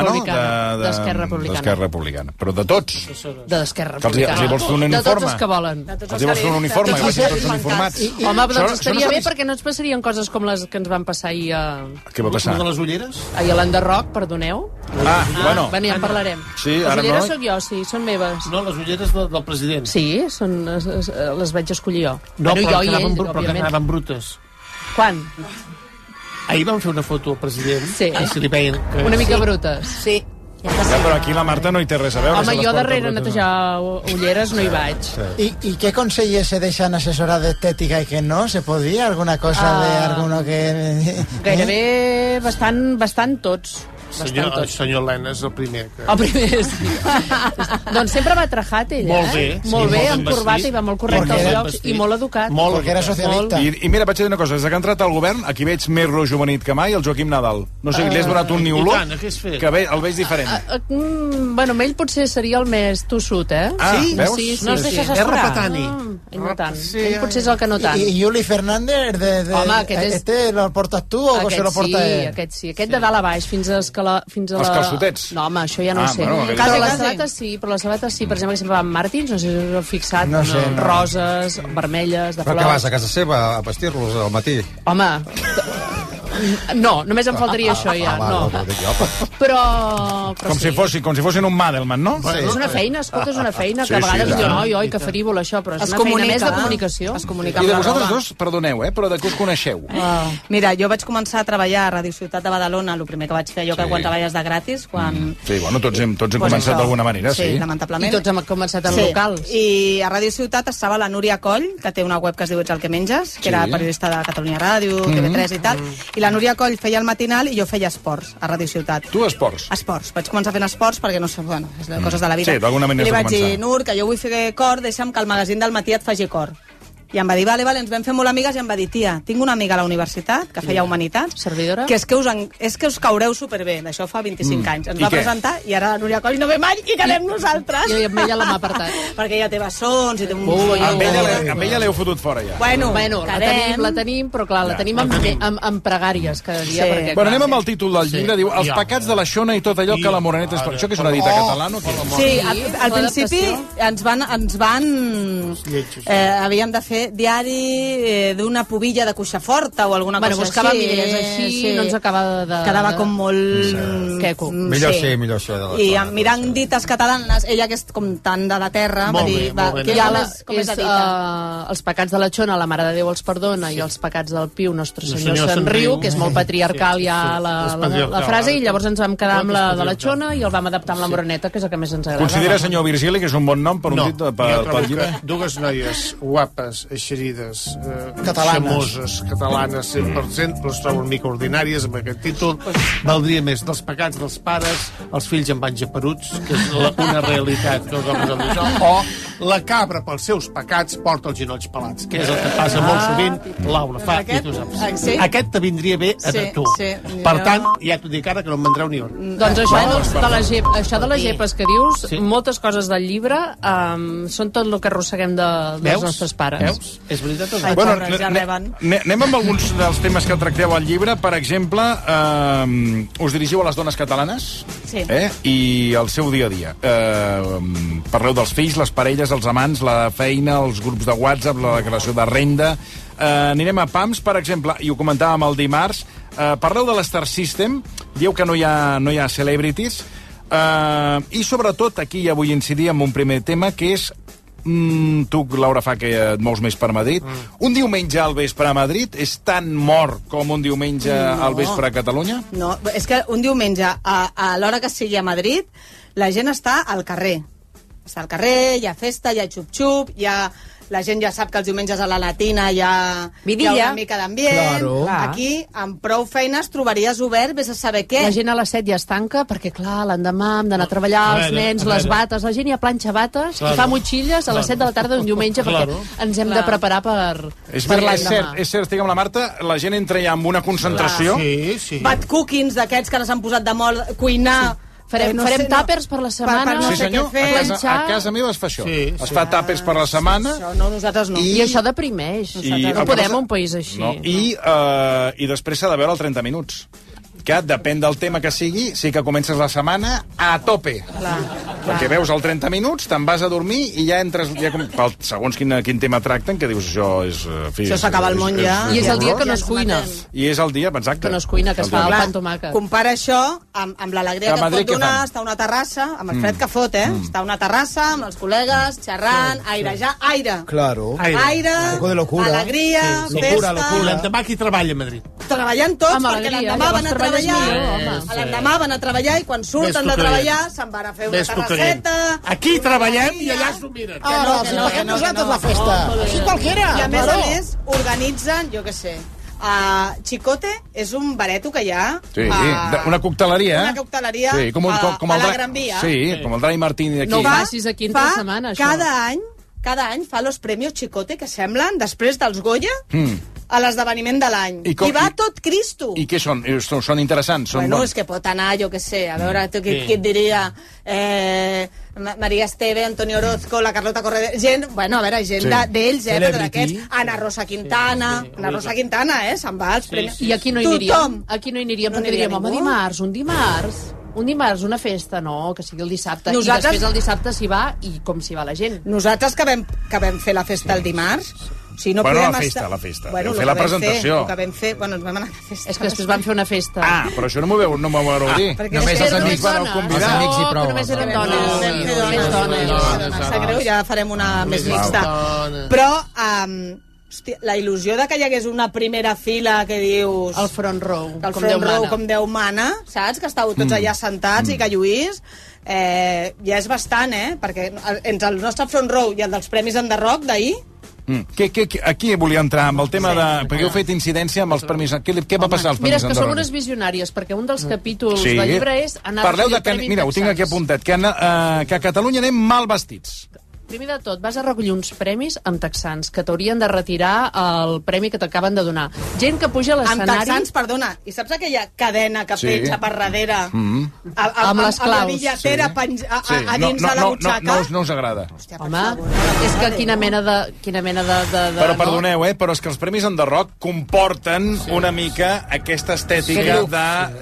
De- Republicana. de- D'Esquerra Republicana. D'Esquerra Republicana. Però de tots. de l'Esquerra Que els hi- Republicana. els hi vols fer un De tots uniforme? els que volen. els hi vols fer un uniforme, i vagin tots uniformats. Home, Això- doncs això estaria no s'ha bé vist. perquè no ens passarien coses com les que ens van passar ahir a, Què va passar? de les ulleres? ahir a l'Enderroc, perdoneu. Ah, bueno. Bé, ja en parlarem. Sí, les ara ulleres no. sóc jo, sí, són meves. No, les ulleres del, del president. Sí, són, es, es, les vaig escollir jo. No, Bueno, però, jo que i ell, anaven, bru- però que òbviament. anaven brutes. Quan? Ahir vam fer una foto al president. Sí. Que se li veien... Que... Una mica brutes. Sí. Ja, però aquí la Marta no hi té res a veure. se Home, les jo porta darrere brutes, no? netejar ulleres no hi vaig. ¿Y, y qué conseller se dejan asesorar de estética y que no? ¿Se podía alguna cosa de Ah. alguno que...? eh, Gairebé bastant, bastant tots. Bastant Senyor, el tots. senyor Lena és el primer. Que... El primer, sí. doncs sempre va trajat, ell, Molt eh? bé, sí, molt bé, molt ben amb corbata, vestit. i va molt correcte Perquè als era llocs, vestit. i molt educat. Molt Perquè era educat. socialista. I, I mira, vaig dir una cosa, des que ha entrat al govern, aquí veig més rojo benit que mai el Joaquim Nadal. No sé, li Eh, has donat un I niuló tant, què has fet? que ve, el veig diferent. Ah, mm, bueno, amb ell potser seria el més tossut, eh? Ah, veus? Sí, sí, No es sí. deixa assessorar. És repatani. Ah, ell no tant. Sí, eh, ell potser és el que no tant. ¿Y, y Yuli Fernández de, de- Home, aquest és- este lo portas tú o se lo porta sí, él? aquest sí. Aquest de dalt a baix, fins a, escala, fins a la... Els calçotets? No, home, això ja no Ah, ho sé. bueno, però aquell- les Quasi, quasi. sabates sí, però les sabates sí. Per exemple, que sempre van Martins, no sé si us heu fixat, No sé, no. roses, vermelles, de Però què vas, flors... a casa seva, a vestir-los al matí? Home, no, només em faltaria això Ah, ja, no. no. dic jo. Però... però Com si, fossin, com si fossin un Madelman, no? Sí, és una feina, escolta, és una feina que Sí, a sí, vegades i sí, diuen, tant. oi, oi, que farívola això, però és Es una feina comunica, més de eh? comunicació. Es comunica I de vosaltres dos, perdoneu, eh, però de què us coneixeu? Ah. Mira, jo vaig començar a treballar a Radio Ciutat de Badalona, el primer que vaig fer jo que Sí. quan treballes de gratis, quan... Mm. Sí, bueno, tots hem, tots hem Pues començat això. d'alguna manera, sí. Sí, lamentablement. I tots hem començat en locals. I a Ràdio Ciutat estava la Núria Coll, que té una web que es diu Ets el que menges, que Sí. era periodista de Catalunya Ràdio, Mhm. TV3 i tal, i la Núria Coll feia el matinal i jo feia esports a Ràdio Ciutat. Tu, esports? Esports. Vaig començar fent esports perquè no sé, bueno, és de Mm. coses de la vida. Sí, d'alguna manera I li has de vaig dir, començar. Nur, que jo vull fer cor, deixa'm que el magazín del matí et faci cor. I em va dir, vale, vale, ens vam fer molt amigues i em va dir, tia, tinc una amiga a la universitat que feia humanitat, Servidora? que és que us, en... és que us caureu superbé, d'això fa 25 Mm. anys. Ens I va què? presentar i ara la Núria Coll no ve mai i quedem nosaltres. I amb ella la mà apartat. Oh. Perquè ella té bessons i té un... Amb ella, l'he- Ah, amb ella l'heu fotut fora, ja. Bueno, bueno la, quedem. tenim, la tenim, però clar, la tenim amb, amb, amb pregàries cada dia. Sí. Perquè, Bueno, anem clar, amb el títol del llibre, diu Els pecats de la Xona i tot allò que la Moreneta és per això, que és una dita catalana. o què? Sí, al, al principi ens van... Ens van Lletjos. eh, havíem de fer diari eh, d'una pubilla de cuixaforta o alguna Bueno, cosa buscava així. milers així, no ens acaba de- Quedava com molt... Queco. Mm, Millor sí, millor això de la I zona. em- mirant dites catalanes, ella que és com tan de la terra, Molt va bé, dir... molt Va, bé. què ja la, és, com és la eh, és, dita? uh, els pecats de la xona, la Mare de Déu els perdona, sí. i els pecats del Piu, Nostre El Senyor, Senyor Senyor se'n se'n riu, riu. que és molt patriarcal sí, ja la, és la, la patriarcal, frase, eh? i llavors ens vam quedar amb Molt la és de la patriarcal. xona i el vam adaptar amb la moreneta, que és el que més ens agrada. Considera, senyor Virgili, que és un bon nom per un No, dit de- jo per- trobo pel llibre? que dues noies guapes, eixerides, eh, Catalanes. xamoses, catalanes 100%, però es trobo una mica ordinàries amb aquest títol. Valdria més dels pecats dels pares, els fills amb anys aparuts, que és la, una realitat que els homes han d'això, o la cabra pels seus pecats porta els genolls pelats, que és el que passa molt sovint, Laura fa, Ah. Aquest- i tu saps. ah, sí? Aquest te vindria bé a Sí, tu. sí, per jo- tant, ja t'ho dic ara que no em vendreu ni un. Doncs això, Bueno, dels- de les, gep, això de les gepes que dius, Sí. sí. moltes coses del llibre um, són tot el que arrosseguem de, dels Veus? nostres pares. Veus? És veritat Ai, bueno, pobres, ja ne- reben. Eh, ne- anem amb alguns dels temes que tracteu al llibre. Per exemple, eh, us dirigiu a les dones catalanes Sí. eh, i el seu dia a dia. Eh, parleu dels fills, les parelles, els amants, la feina, els grups de WhatsApp, la declaració de renda... Eh, anirem a PAMS, per exemple, i ho comentàvem el dimarts. Eh, parleu de l'Star System, dieu que no hi ha, no hi ha celebrities, eh, i sobretot aquí ja vull incidir en un primer tema, que és Mm, tu, Laura, fa que et mous més per Madrid. Mm. Un diumenge al vespre a Madrid és tan mort com un diumenge no. al vespre a Catalunya? No, és que un diumenge, a, a l'hora que sigui a Madrid, la gent està al carrer. Està al carrer, hi ha festa, hi ha xup-xup, hi ha... La gent ja sap que els diumenges a la Latina hi ha, hi ha Vidilla. una mica d'ambient. Claro. Clar. Aquí, amb prou feines, trobaries obert, vés a saber què. La gent a les 7 ja es tanca perquè, clar, l'endemà hem d'anar a treballar, A els veure, nens, a les veure. bates, la gent ja planxa bates Claro. i fa motxilles a Claro. les 7 de la tarda d'un diumenge Claro. perquè ens hem de preparar per, És, per és cert, és cert, estic amb la Marta, la gent entra ja amb una concentració. Sí, sí. Bat cookings d'aquests que no s'han posat de molt, cuinar... Eh, Farem- farem tàpers per la setmana. Per, per no sí, sé senyor, què a fer. casa, a casa meva es fa això. Sí, es fa tàpers per la setmana. Això no, nosaltres no. I, I això deprimeix. I- no el que podem passa- un país així. No. I, uh, I després s'ha de veure el 30 minuts que depèn del tema que sigui, sí que comences la setmana a tope. Clar, Perquè veus el 30 minuts, te'n vas a dormir i ja entres... Ja com, pel, segons quin, quin tema tracten, que dius això és... eh, en Fi, Això s'acaba el món ja. I és el dia que no horror. es cuina. I és el dia, exacte. Que no es cuina, que es fa el pa amb tomàquet. Compara això amb, amb l'alegria A que et Madrid pot què donar fan? estar a una terrassa, amb el fred Mm. que fot, eh? Estar a una terrassa, amb els col·legues, xerrant, airejar, aire. Claro. Aire, Un poco de locura. alegria, Sí, sí. festa... L'endemà qui treballa a Madrid? Treballant tots, Amb perquè alegria, l'endemà llavors van a treballes treballar, millor, home. l'endemà van a treballar i quan surten Ves de tu treballar creient. se'n van a fer una Ves tu creient. terrasseta... Aquí treballem i allà s'ho Que miren. no, Ara, que si no, que no, paguem que nosaltres no. la festa. Molt bé. Així qualquiera, I a més a Baró. més, organitzen, jo què sé, a Chicote és un bareto que hi ha Sí, a- de- una cocteleria. Una cocteleria sí, com, un- a- com, com a el la Dra- Gran Via. Sí, com el Dani Martini d'aquí. No ho facis aquí entre fa setmana, això. Cada any, cada any fa los premios Chicote, que semblen, després dels Goya, Mm. a l'esdeveniment de l'any. I I, com- va i- tot Cristo. I què són? Eh, Són, són interessants. Són bueno, bons. és que pot anar, jo que sé, a veure, tu, qui, Sí. qui et diria... Eh, Ma- Maria Esteve, Antonio Orozco, la Carlota Corredera... Gent, bueno, a veure, gent Sí. de- d'ells, eh, però Celebrity. d'aquests... Ana Rosa Quintana, Ana Rosa Quintana, eh, se'n va als premis. I aquí no hi Tothom. aniríem. Aquí no hi aniríem No perquè aniria diríem, home, ningú. dimarts, un dimarts, un dimarts, una festa, no, que sigui el dissabte. Nosaltres- I després el dissabte s'hi va i com s'hi va la gent. Nosaltres que vam, que vam fer la festa el dimarts, o sigui, no Bueno, podem la festa, estar... la festa. Bueno, Vau el fer que la vam presentació. Fer, el que vam fer, bueno, ens vam anar a la festa. És que després van fer una festa. Ah, però això no m'ho veu, no m'ho veu dir. Ah, perquè Només és que els eren amics dones. van vareu convidar. Els amics i prou, només eren dones. Vam fer dones, dones, dones, dones. Sap greu, ja farem una més Wow. mixta. Però, um, hòstia, la il·lusió de que hi hagués una primera fila que dius... El front row, el com front Déu row, mana. com Déu mana, saps? Que estàveu tots Mm. allà sentats i que lluís... Eh, ja és bastant, eh? Perquè entre el nostre front row i el dels Premis Enderroc d'ahir, Mm. Què, què, què- aquí volia entrar amb el tema de... Perquè heu fet incidència amb els permisos. Què, li- què va passar als Mira, permisos? és que són d'Andorra? unes visionàries, perquè un dels capítols del llibre és anar a Parleu recollir de el que, eh, premi mira, ho tinc Texas. aquí apuntat, que, uh, que a Catalunya anem mal vestits. Primer de tot, vas a recollir uns premis amb texans, que t'haurien de retirar el premi que t'acaben de donar. Gent que puja a Amb l'escenari... texans, perdona, i saps aquella cadena que Sí. sí. penja per darrere? Mm. A, a, Amb les Amb la claus. billetera Sí. penja, a, a, Sí, a dins de la butxaca? No, no, us- no us agrada. Home, és que quina mena de... Quina mena de, de, de Però no? perdoneu, eh? Però és que els Premis Enderroc comporten sí. una mica aquesta estètica Sí.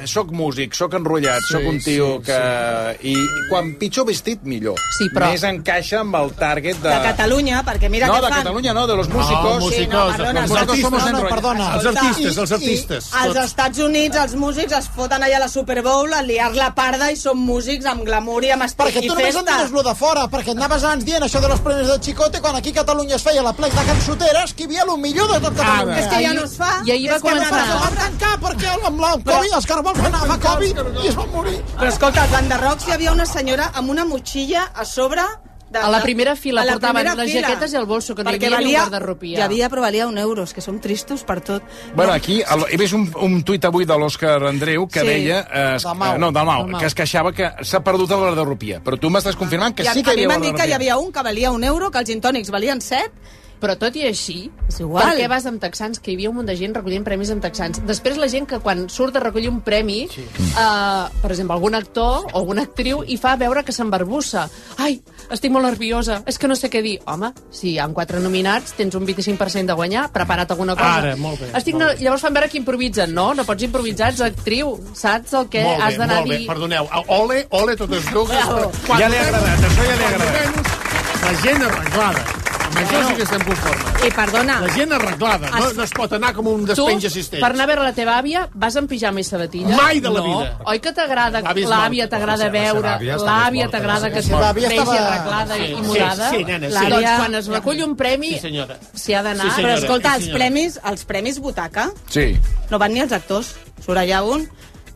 de soc músic, soc enrotllat, Sí, soc un tio sí, que... I, I quan pitjor vestit, millor. Sí, però- Més encaixa amb el target de... De Catalunya, perquè mira no, què de fan. Catalunya no, de los No, Ah, músicos. músicos, Sí, no, de- perdona, els Nosaltres artistes, somos no, no, enrollados. perdona. Els artistes, els I- artistes. I, als Estats Units els músics es foten allà a la Super Bowl a liar la parda i són músics amb glamour i amb estil Perquè i tu només festa. entens lo de fora, perquè anaves abans dient això de los premis de Chicote, quan aquí a Catalunya es feia la plec de cançoteres, que hi havia lo millor de tot Ah, Catalunya. és que ja no es fa. I ahir va És que no es començar. fa, es van tancar perquè amb la Covid, els cargols van anar a Covid i es van morir. Però escolta, als Banderrocs hi havia una senyora amb una motxilla a sobre de, A la primera fila a la portaven primera les fila. jaquetes i el bolso, que no hi Perquè havia ni un valia- guardarropia. Hi havia, però valia un euro, és que som tristos per tot. Bueno, aquí el, he vist un, un tuit avui de l'Òscar Andreu que Sí. deia... Eh, es, Dalmau. eh, no, Dalmau, Dalmau. que es queixava que s'ha perdut el guardarropia. Però tu m'estàs confirmant que I a, sí que a hi mi havia m'han dit que hi guardarropia. havia un que valia un euro, que els gintònics valien set, però tot i així, és igual. Per què vas amb texans? Que hi havia un munt de gent recollint premis amb texans. Després la gent que quan surt de recollir un premi, sí. eh, per exemple, algun actor o alguna actriu, i fa veure que s'embarbussa. Ai, estic molt nerviosa, és que no sé què dir. Home, si hi ha quatre nominats, tens un 25% de guanyar, prepara't alguna cosa. Ara, molt bé, Estic molt ner- Llavors fan veure que improvisen, no? No pots improvisar, ets actriu, saps el que molt Eh, has bé, d'anar a molt dir. bé, perdoneu. A- Ole, ole totes dues. Bravo. per- quan Ja li ha menys- agradat, això ja li ha quan agradat. menys, La gent arreglada. Amb això sí que estem conformes. I perdona... La gent arreglada. No, Es- no es pot anar com un Tu, despenja cistells. per anar a veure la teva àvia, vas en pijama i sabatilles? Mai de la no. vida. Oi que t'agrada, L'àvia és l'àvia morta. t'agrada La seva- la seva veure, àvia està l'àvia morta, t'agrada la que seva et àvia vegi estava- arreglada Sí, i sí, murada? sí, nena, sí. Doncs L'àvia- quan es recull un premi, Sí, senyora. s'hi ha d'anar. Sí, senyora. Però escolta, Sí, els senyora. premis, els premis butaca Sí. no van ni els actors. Surt allà un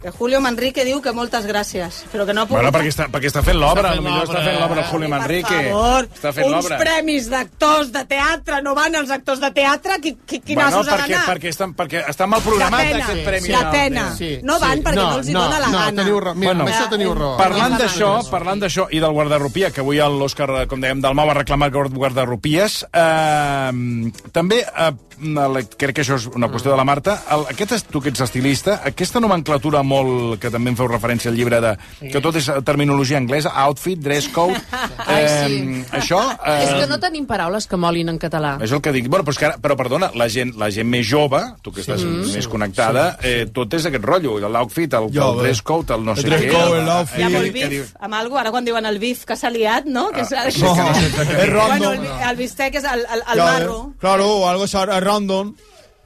que Julio Manrique diu que moltes gràcies, però que no ha pogut... Bueno, perquè està, perquè està fent l'obra, Està fent potser està l'obra. fent l'obra el Julio Manrique. favor, està fent uns l'obra. premis d'actors de teatre, no van els actors de teatre? Qui, qui, qui bueno, nassos han perquè, d'anar? perquè, estan, perquè està mal programat pena, aquest sí, premi. sí. La pena. No van perquè no els hi dona la gana. Bueno, Parlant d'això, parlant d'això i del guardarropia, que avui l'Òscar, eh, com dèiem, del Mau va reclamar guard- guardarropies, eh, també, eh, el- crec que això és una qüestió de la Marta, el, aquest, és- tu que ets estilista, aquesta nomenclatura molt, que també en feu referència al llibre, de, que tot és terminologia anglesa, outfit, dress code, ehm, Ai, sí. això... És que no tenim paraules que molin en català. Ah. És el que dic. Bueno, però, és que ara, però perdona, la gent, la gent més jove, tu que estàs Mm. més connectada, eh, tot és aquest rotllo, l'outfit, el, el Jove. dress code, el no El sé dress què... code, el- l'outfit. eh, Amb el què dius? bif, amb algo, ara quan diuen el bif que s'ha liat, no? Que és, No, es Bueno, random. el, el bistec és el, el, el Claro, barro. eh, Claro, o algo es a- random.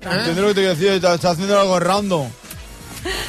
¿Entiendes lo que te quiero decir? Está, está haciendo algo random.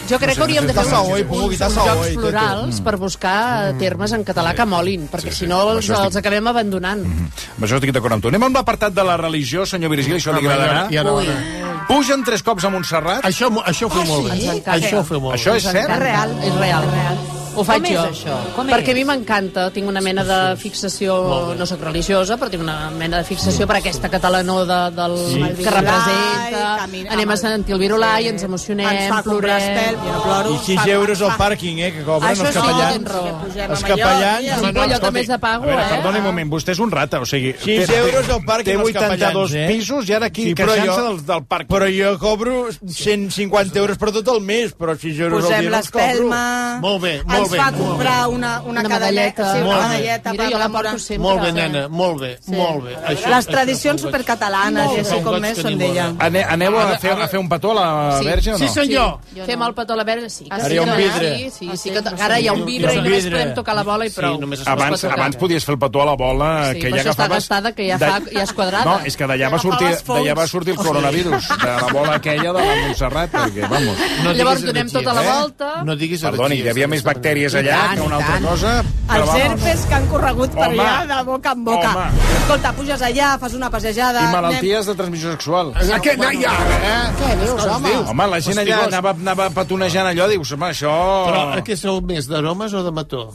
Jo crec que No sé, hauríem no de fer sé, uns, passa avui, uns, Pugo, qui uns passa jocs avui, Tete? florals Mm. per buscar termes en català que molin, perquè si no els, Això estic- els acabem abandonant. Amb això estic d'acord amb tu. Anem amb l'apartat de la religió, senyor Virgili, això li Home, agradarà. Ah, ja no- ja Pugen tres cops a Montserrat. Això, això feu molt bé. Ens encanta. Això ho feu molt bé. Això és Ens encanta. cert? És real. És real. Ho faig Com és jo. això? Com perquè és? a mi m'encanta, tinc una mena de fixació, no sóc religiosa, però tinc una mena de fixació per aquesta catalanó de, del, Sí. que representa. Camina- Anem a sentir el virulai, ens emocionem, Ens fa comprar plorem. estel, jo no ploro. I 6 euros al pàrquing, eh, que cobren Això els sí, capellans. tens raó. Els capellans... Sí, allò també és de A pago, veure, eh? perdoni un moment, vostè és un rata, o sigui... Sis té- euros al parc Té amb els 82 capellans, eh? pisos i ara aquí Sí, sí, però queixant-se jo- del, del parc. Però jo cobro 150 euros per tot el mes, però 6 euros Posem al dia no els cobro. l'espelma, Molt bé, molt ens bé. fa molt comprar bé. una, una, Una cadalleta. medalleta. Sí, una Molt bé. medalleta. Mira, per jo la rememorar. porto sempre. Molt bé, nena, molt bé, molt bé. Això, Les això tradicions fa un goig. supercatalanes, Molt bé, Jessi, fa un com goig més que són ningú, d'ella. eh? Ane, aneu a fer, a fer un petó a la Sí. verge o no? Sí, senyor. Jo Fem el petó a la verge, sí. Que Ara sí, hi ha un que- vidre. Sí, Ah, sí, sí, que ara hi ha un vidre Hi i ha un només vidre. podem tocar la bola i prou. Abans, abans, podies fer el petó a la bola Sí, que però ja això està agafaves... gastada, que ja fa- ja és quadrada. No, és que d'allà va, sortir, agafaves fongs. d'allà va sortir el coronavirus, de la bola aquella de la Montserrat, perquè, vamos... No Llavors diguis donem heretgia, tota la eh? volta. No diguis Perdoni, hi havia més bactèries I allà tant, que una i altra tant. cosa. però Els vamos. herpes que han corregut per Home. allà de boca en boca. Home. Escolta, puges allà, fas una passejada... I anem- malalties de transmissió sexual. Aquest, bueno, ja, eh? Què dius, home? Home, la gent allà Fastigós. anava, anava patonejant allò, dius, home, això... Però què sou més, d'aromes o de mató?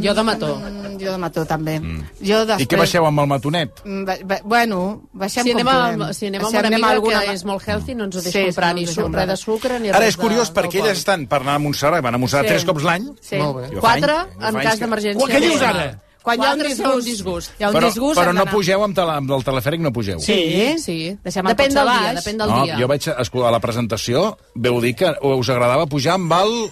Jo de mató. Mm, jo de mató, també. Jo després... Mm. I què baixeu amb el matonet? Mm, ba- ba- Bueno, baixem Si anem, com amb, podem. si anem amb una amiga alguna... que és molt healthy, no ens ho deixa Sí, sí, comprar no ni ens ho sucre, compra. res de sucre ni Ara res és curiós de, perquè elles estan per anar a Montserrat, van a Montserrat doncs, Sí. tres cops l'any. Sí. Jo fa Quatre any- jo fa en anys cas que- d'emergència. Què dius ara? Quan hi ha un Quatre serà un disgust. disgust. Hi ha un però, disgust, però hem no d'anar. pugeu amb, tele, amb el telefèric, no pugeu. Sí, sí. Deixem el eh? Depèn cotxe del a dia, baix. depèn del no, dia. Jo vaig escoltar la presentació, veu dir que us agradava pujar amb el...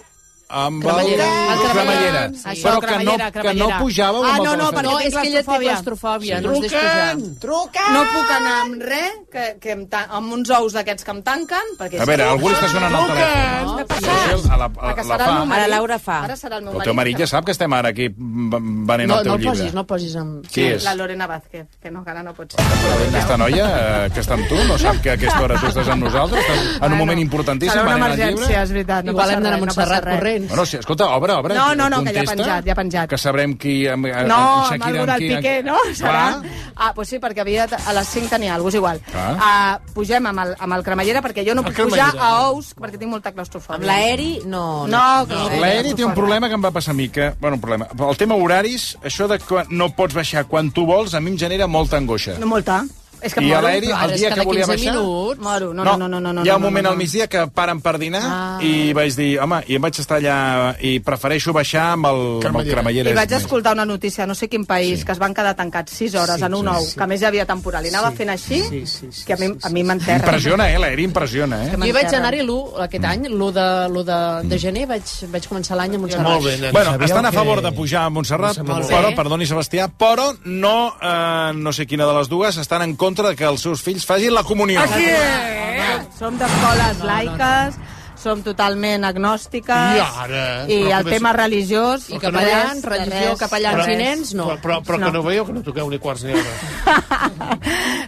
Amb Cremallera. el... El cremallera. cremallera. Sí. Això, Però que no, cremallera, que no cremallera. pujàveu Ah, amb no, el no, telefèric. perquè té claustrofòbia. Sí. Truquen! Truquen! No puc anar amb res, que, que em ta- amb uns ous d'aquests que em tanquen, perquè... és A veure, que- algú li està sonant al telèfon. No, A la, a, perquè la serà el fa. meu marit. Ara Laura fa. Ara serà el meu El teu marit ja sap que estem ara aquí mm, venent No, el teu no el llibre. posis, No posis amb... Qui és? La Lorena Vázquez, que no, que ara no pot ser. Aquesta noia eh, que està amb tu no sap que a aquesta hora tu estàs amb nosaltres, estàs en un moment importantíssim venent el llibre. és veritat. Igual hem d'anar a Montserrat corrent. Bueno, sí, escolta, obre, obre. No, no, no, que ja ha contesta, penjat, ja ha penjat. Que sabrem qui... Amb, amb No, amb Shakira, algú del qui- Piqué, no? Serà... Va, Ah, doncs sí, perquè havia, de- a les 5 tenia alguna cosa igual. Ah. Ah, pugem amb el, amb el cremallera, perquè jo no puc pujar cremallera. a ous, perquè tinc molta claustrofòbia. Amb l'aeri, no. No, Eh, no. L'Eri té un problema que em va passar a mi, que... Bueno, un problema. El tema horaris, això de que no pots baixar quan tu vols, a mi em genera molta angoixa. No molta. És que I a moro. l'Eri, el dia que volia baixar... Minuts. Moro, no, no, no, no, no, no, hi ha un no, moment no, al migdia que paren per dinar Ah. i vaig dir, home, i em vaig estar allà i prefereixo baixar amb el, amb el cremallera. I vaig És més. escoltar una notícia, no sé quin país, sí. que es van quedar tancats 6 hores sí, en un ou, sí, sí. que a més hi havia temporal. I anava sí, fent així, sí, sí, sí, que a mi, a mi m'enterra. Impressiona, eh, l'Eri, impressiona, eh? Jo vaig anar-hi l'1, aquest any, l'1 de, l'1 de, Mm. de gener, vaig, vaig començar l'any a Montserrat. Doncs bueno, estan a favor de pujar a Montserrat, Molt bé. però, perdoni Sebastià, però no, eh, no sé quina de les dues, estan en contra de que els seus fills facin la comunió. Així és! Som d'escoles laiques, som totalment agnòstiques, I ara? i Però el que tema ves- religiós... I capellans, de res, de religió, res, capellans de i res. nens, no. Però, però, però que no veieu que no toqueu ni quarts ni hora.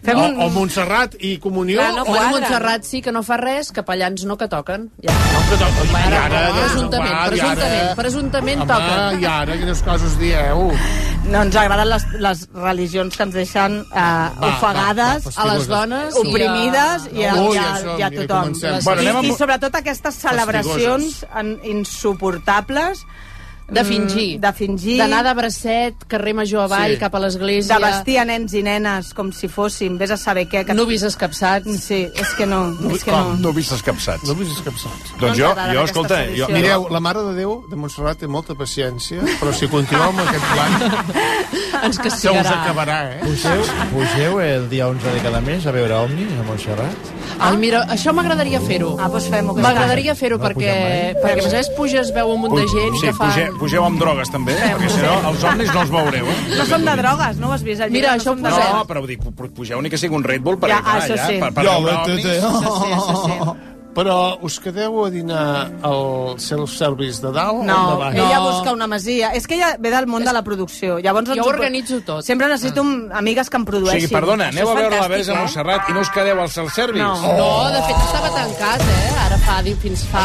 Fem o, un- o Montserrat i Comunió... Clar, no, o... bueno, Montserrat sí que no fa res, capellans no que toquen. I Ja. ara, presumptament, va, i ara. presumptament, presumptament toquen. Home, i ara, quines coses dieu? No, ens agraden les, les religions que ens deixen eh, ofegades va, fastiguoses. Sí. oprimides i a, Ui, i a, això, i a mira, tothom. comencem. I, Bueno, anem amb- I sobretot aquestes celebracions en, insuportables De mm, fingir. de fingir, D'anar de bracet, carrer Major avall, Sí. cap a l'església. de vestir a nens i nenes com si fóssim, vés a saber què. Que... Nuvis escapçats. Sí, és que no, és que no. No vist escapçats. No vist escapçats. Doncs jo, jo escolta... Jo, Mireu, la Mare de Déu de Montserrat té molta paciència, però si continueu amb aquest plan, Ens se us acabarà, eh? Pugeu, pugeu el dia 11 de cada mes a veure Omni a Montserrat? Ai, mira, això m'agradaria fer-ho. Ah, doncs fem-ho. M'agradaria fer-ho perquè, perquè, a més a més, puges, veu un munt de gent sí, que fan... pugeu, pugeu amb drogues, també, perquè si no, els omnis no els veureu. Eh? No som de drogues, no ho has vist? al llibre? Mira, això ho som de No, drogues. però vull dir, pu- pugeu ni que sigui un Red Bull, perquè, Ja, ja, clar, això ja, sí. per, per Ja, veure però omnis... tu- Sí, sí, sí. Però us quedeu a dinar al self-service de dalt No, o de baix? ella busca una masia. És que ella ve del món de la producció. Llavors Jo ens ho pro- organitzo tot. Ah. Sempre necessito mm, amigues que em O produeixin. sigui, perdona, aneu Això a és veure la fantàstic, eh? Verge a Montserrat i no us quedeu al self-service? No, de fet estava tancat, eh? Ara fa, di- fins fa...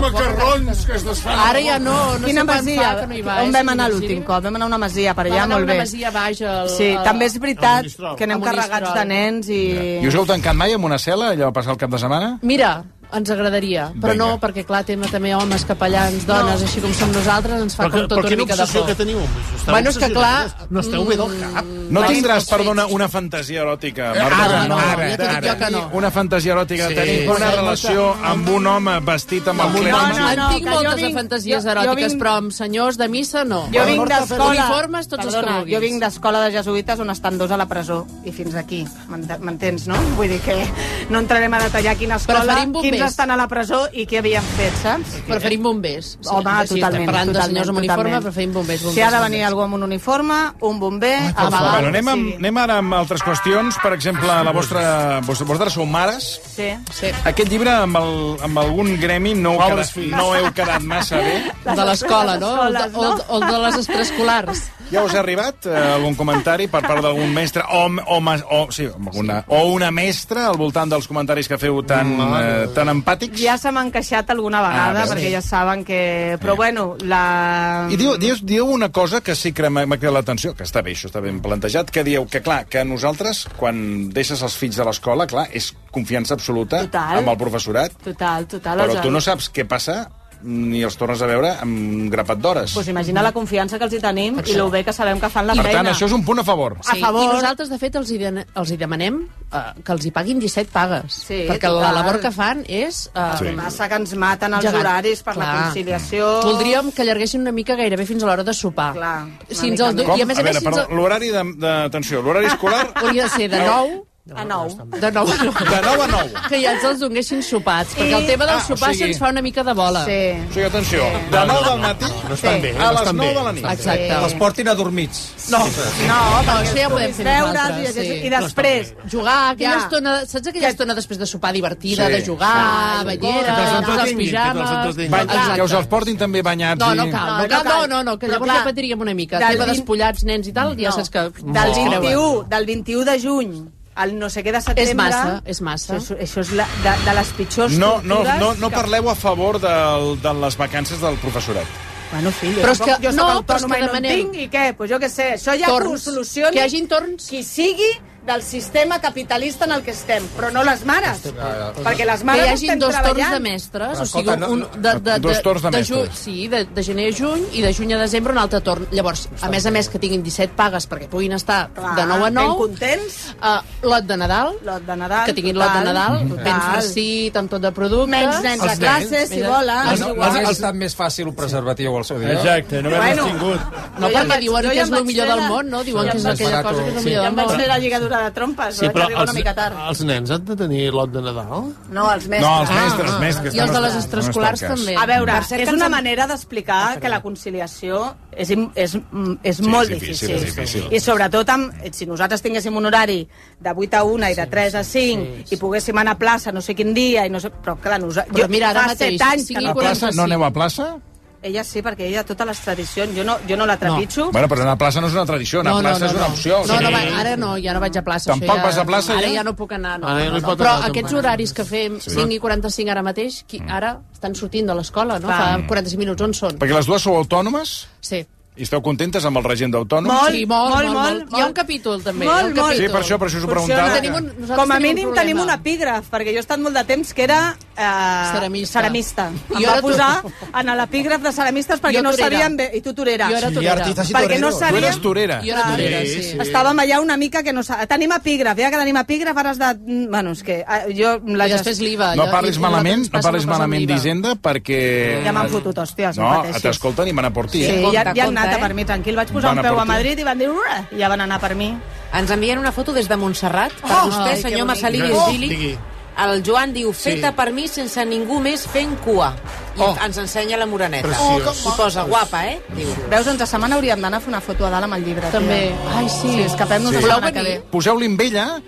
macarrons que es desfan... Ara ja no, no Quina sé quan masia? fa que no hi vaig. On vam anar Sí, l'últim cop? Vam anar a una masia per Vam allà, anar a molt una bé. masia baix al... Sí, al- també és al veritat Monistrol. que anem Al carregats de Monistrol. nens i... I us heu tancat mai en una cel·la, allò, a passar el cap de setmana? Mira, ens agradaria, però Vinga. no, perquè clar, tema també homes, capellans, dones, així com som nosaltres, ens fa Però, que, com però tot una quina mica de obsessió por. que teniu amb això? Esteu Bueno, és que clar... mm, obsessionats? No esteu bé del cap. No tindràs, perdona, una fantasia eròtica, Eh, Marta? ara, no, ara, ja t'ho dic ara. jo que no. Una fantasia eròtica, Sí. sí, tenir una Sí, relació amb un home vestit amb el No, clergue. No, en tinc que jo moltes de vinc- fantasies jo- jo eròtiques, vinc- però amb senyors de missa no. Jo vinc d'escola... Uniformes, tots els que Perdona, vulguis. Jo vinc d'escola de jesuïtes on estan dos a la presó. I fins aquí. M'ent- M'entens, no? Vull dir que no entrarem a detallar quina escola, Preferim bombers. quins estan a la presó i què havien fet, saps? Preferim bombers. Sí, Home, és així, totalment, estem parlant de totalment, senyors amb uniforme, totalment. preferim bombers. bombers Si ha de venir bombers. algú amb un uniforme, un bomber... a vegades- Bueno, anem, amb, anem ara amb altres qüestions. Per exemple, la vostra... Vos, vosaltres sou mares. Sí. sí. Aquest llibre, amb, el, amb algun gremi, no, heu quedat, Pares fills. no heu quedat massa bé. De l'escola, no? O de, escoles, o, de- o de les extraescolars. Ja us ha arribat eh, algun comentari per part d'algun mestre o, o, ma- o, sí, amb alguna, o una mestra al voltant dels comentaris que feu tan, eh, tan empàtics? Ja se m'han queixat alguna Ah, vegada, veus? perquè ja saben que... Però bueno, la... I diu, diu, diu una cosa que sí que m'ha m'ha cridat l'atenció, que està bé, això està ben plantejat, que dieu que, clar, que nosaltres, quan deixes els fills de l'escola, clar, és confiança absoluta Total. amb el professorat, Total, total. però els- tu no saps què passa ni els tornes a veure amb un grapat d'hores. Pues imagina la confiança que els hi tenim i lo bé que sabem que fan la per feina. tant, això és un punt a favor. A favor. I nosaltres, de fet, els hi, de, els hi demanem eh, que els hi paguin 17 pagues. Sí, perquè la total. labor que fan és... Eh, El que passa que ens maten els gegant. horaris per la Clar. conciliació... Voldríem que allarguessin una mica gairebé fins a l'hora de sopar. Clar, fins al, Com? I a més a, veure, més, fins perdó, al, l'horari de, de... Atenció, l'horari escolar... hauria de ser de 9 a 9. De 9 a 9. De nou a nou. Que ja ens els donguessin sopats, I... perquè el tema Ah, del o sopar sigui- se'ns fa una mica de bola. O sigui, atenció, de 9 del matí No estan bé, a eh, no les estan 9 bé. de la nit. Exacte. Els portin adormits. No. No, No, perquè això ja ho podem fer nosaltres. veure's i, i després... Jugar, aquella Ja. estona... Saps aquella estona després de sopar divertida, Sí, de jugar, sí. Que banyera, te'ls posar els entretinguin, pijames... Bany, que us Exacte. els portin també banyats. No, no i- cal, no, cal, no, no, no, que Però llavors clar, ja patiríem una mica. del Tema vint- despullats, nens i tal, ja saps que... Del 21, del 21 de juny al no sé què de setembre... massa, és massa. Això, és- això és la, de, de les pitjors No, no, tortures no, no que- parleu a favor del, de les vacances del professorat. Bueno, fill, jo Però és soc- que- jo soc no, però és autònoma que i no en demanem- tinc, i què? Pues jo què sé, això ja Torns. ho solucioni... Que hi hagin torns. Qui sigui del sistema capitalista en el que estem, però no les mares. Ah, ja. Perquè les mares que hi hagin estem dos torns treballant. de mestres, Però, o sigui, escolta, un, no- un de, de, de, Dos torns de ju- mestres. sí, de, de gener a juny i de juny a desembre un altre torn. Llavors, a més a més que tinguin 17 pagues perquè puguin estar Clar, de 9 a 9, Ben contents. Uh, lot de Nadal, lot de Nadal, que tinguin lot de total. Nadal, Mhm. ben Total. fresquit, amb tot de productes. Ah, Menys nens a Els classe, nens. si volen. No, és no, igual. no ha estat més fàcil un preservatiu al seu dia. Exacte, no Bueno. m'has tingut. Jo ja em No, perquè vaig- diuen jo que ja és em el vaig millor fer del la- món, no? Diuen ja que em Doncs és vaig aquella fer la- cosa que és el Sí. millor Ja del em vaig fer món. la lligadura de trompes, Sí, vaig però arribar els, una mica tard. els nens han de tenir lot de Nadal? No, els mestres. No, els mestres, els mestres. I els de les extraescolars també. A veure, Per cert, és que una ens- Ah, manera d'explicar que la conciliació és, im- és, mm, és Sí, molt és difícil, difícil. és difícil. I sobretot, amb, si nosaltres tinguéssim un horari de 8 a 1 i de 3 a 5 i poguéssim anar a plaça no sé quin dia, i no sé, però clar, nosaltres... Però mira, ara fa mateix, set anys sigui que A no... plaça? No aneu a plaça? Ella sí, perquè ella totes les tradicions, jo no, jo no la trepitjo. Bueno, però anar a plaça no és una tradició, anar a plaça és una opció. No, no, sí. va, ara no, ja no vaig a plaça. això Tampoc ja, vas a plaça, Ara ja? ja no puc anar, no. Ara ja no no, es no. pot Però anar, aquests tampoc. horaris que fem Sí. Mm. 5 i 45 ara mateix, qui, ara estan sortint de l'escola, no? Fa 45 minuts, on són? Perquè les dues sou autònomes Sí. i esteu contentes amb el règim d'autònoms? sí, molt, molt, molt, Hi ha un capítol, també. hi ha un Molt, molt. capítol. Sí, per això, per això us ho Funciona. preguntava. Tenim un, nosaltres Com a tenim un mínim problema. tenim un epígraf, perquè jo he estat molt de temps que era eh, ceramista. ceramista. Em Jo va era tu- posar en l'epígraf de ceramistes perquè Jo no torera. sabíem bé... I tu torera. Jo era Sí, torera. artistes i Perquè no toreros. sabíem... Tu eres torera. Jo era torera, sí. sí. Estàvem allà una mica que no sa... Tenim epígraf, ja que tenim epígraf, ara has de... Bueno, és que eh, jo... La I després l'IVA. No jo- parlis i- i malament, nosaltres no passa parlis una cosa malament amb l'IVA. d'Hisenda perquè... Ja m'han fotut, hòsties, no, No, pateixis. t'escolten i van a por ti. Sí, eh? ja, ja han anat compte, a per mi, tranquil. Vaig posar un Van a peu per a tu. Madrid i van dir... "Ura", I ja van anar per mi. Ens envien una foto des de Montserrat per Oh! vostè, Ai, que senyor bonic. Massalí Oh! Virgili. El Joan diu, feta per mi sense ningú més fent cua. I Oh. ens ensenya la moreneta. Preciós. Oh, com I posa, monos. guapa, eh? Diu. Veus, entre setmana hauríem d'anar a fer una foto a dalt amb el llibre. També. Tia. Ai, sí. Sí, escapem-nos sí. la setmana que ve. Poseu-li amb ella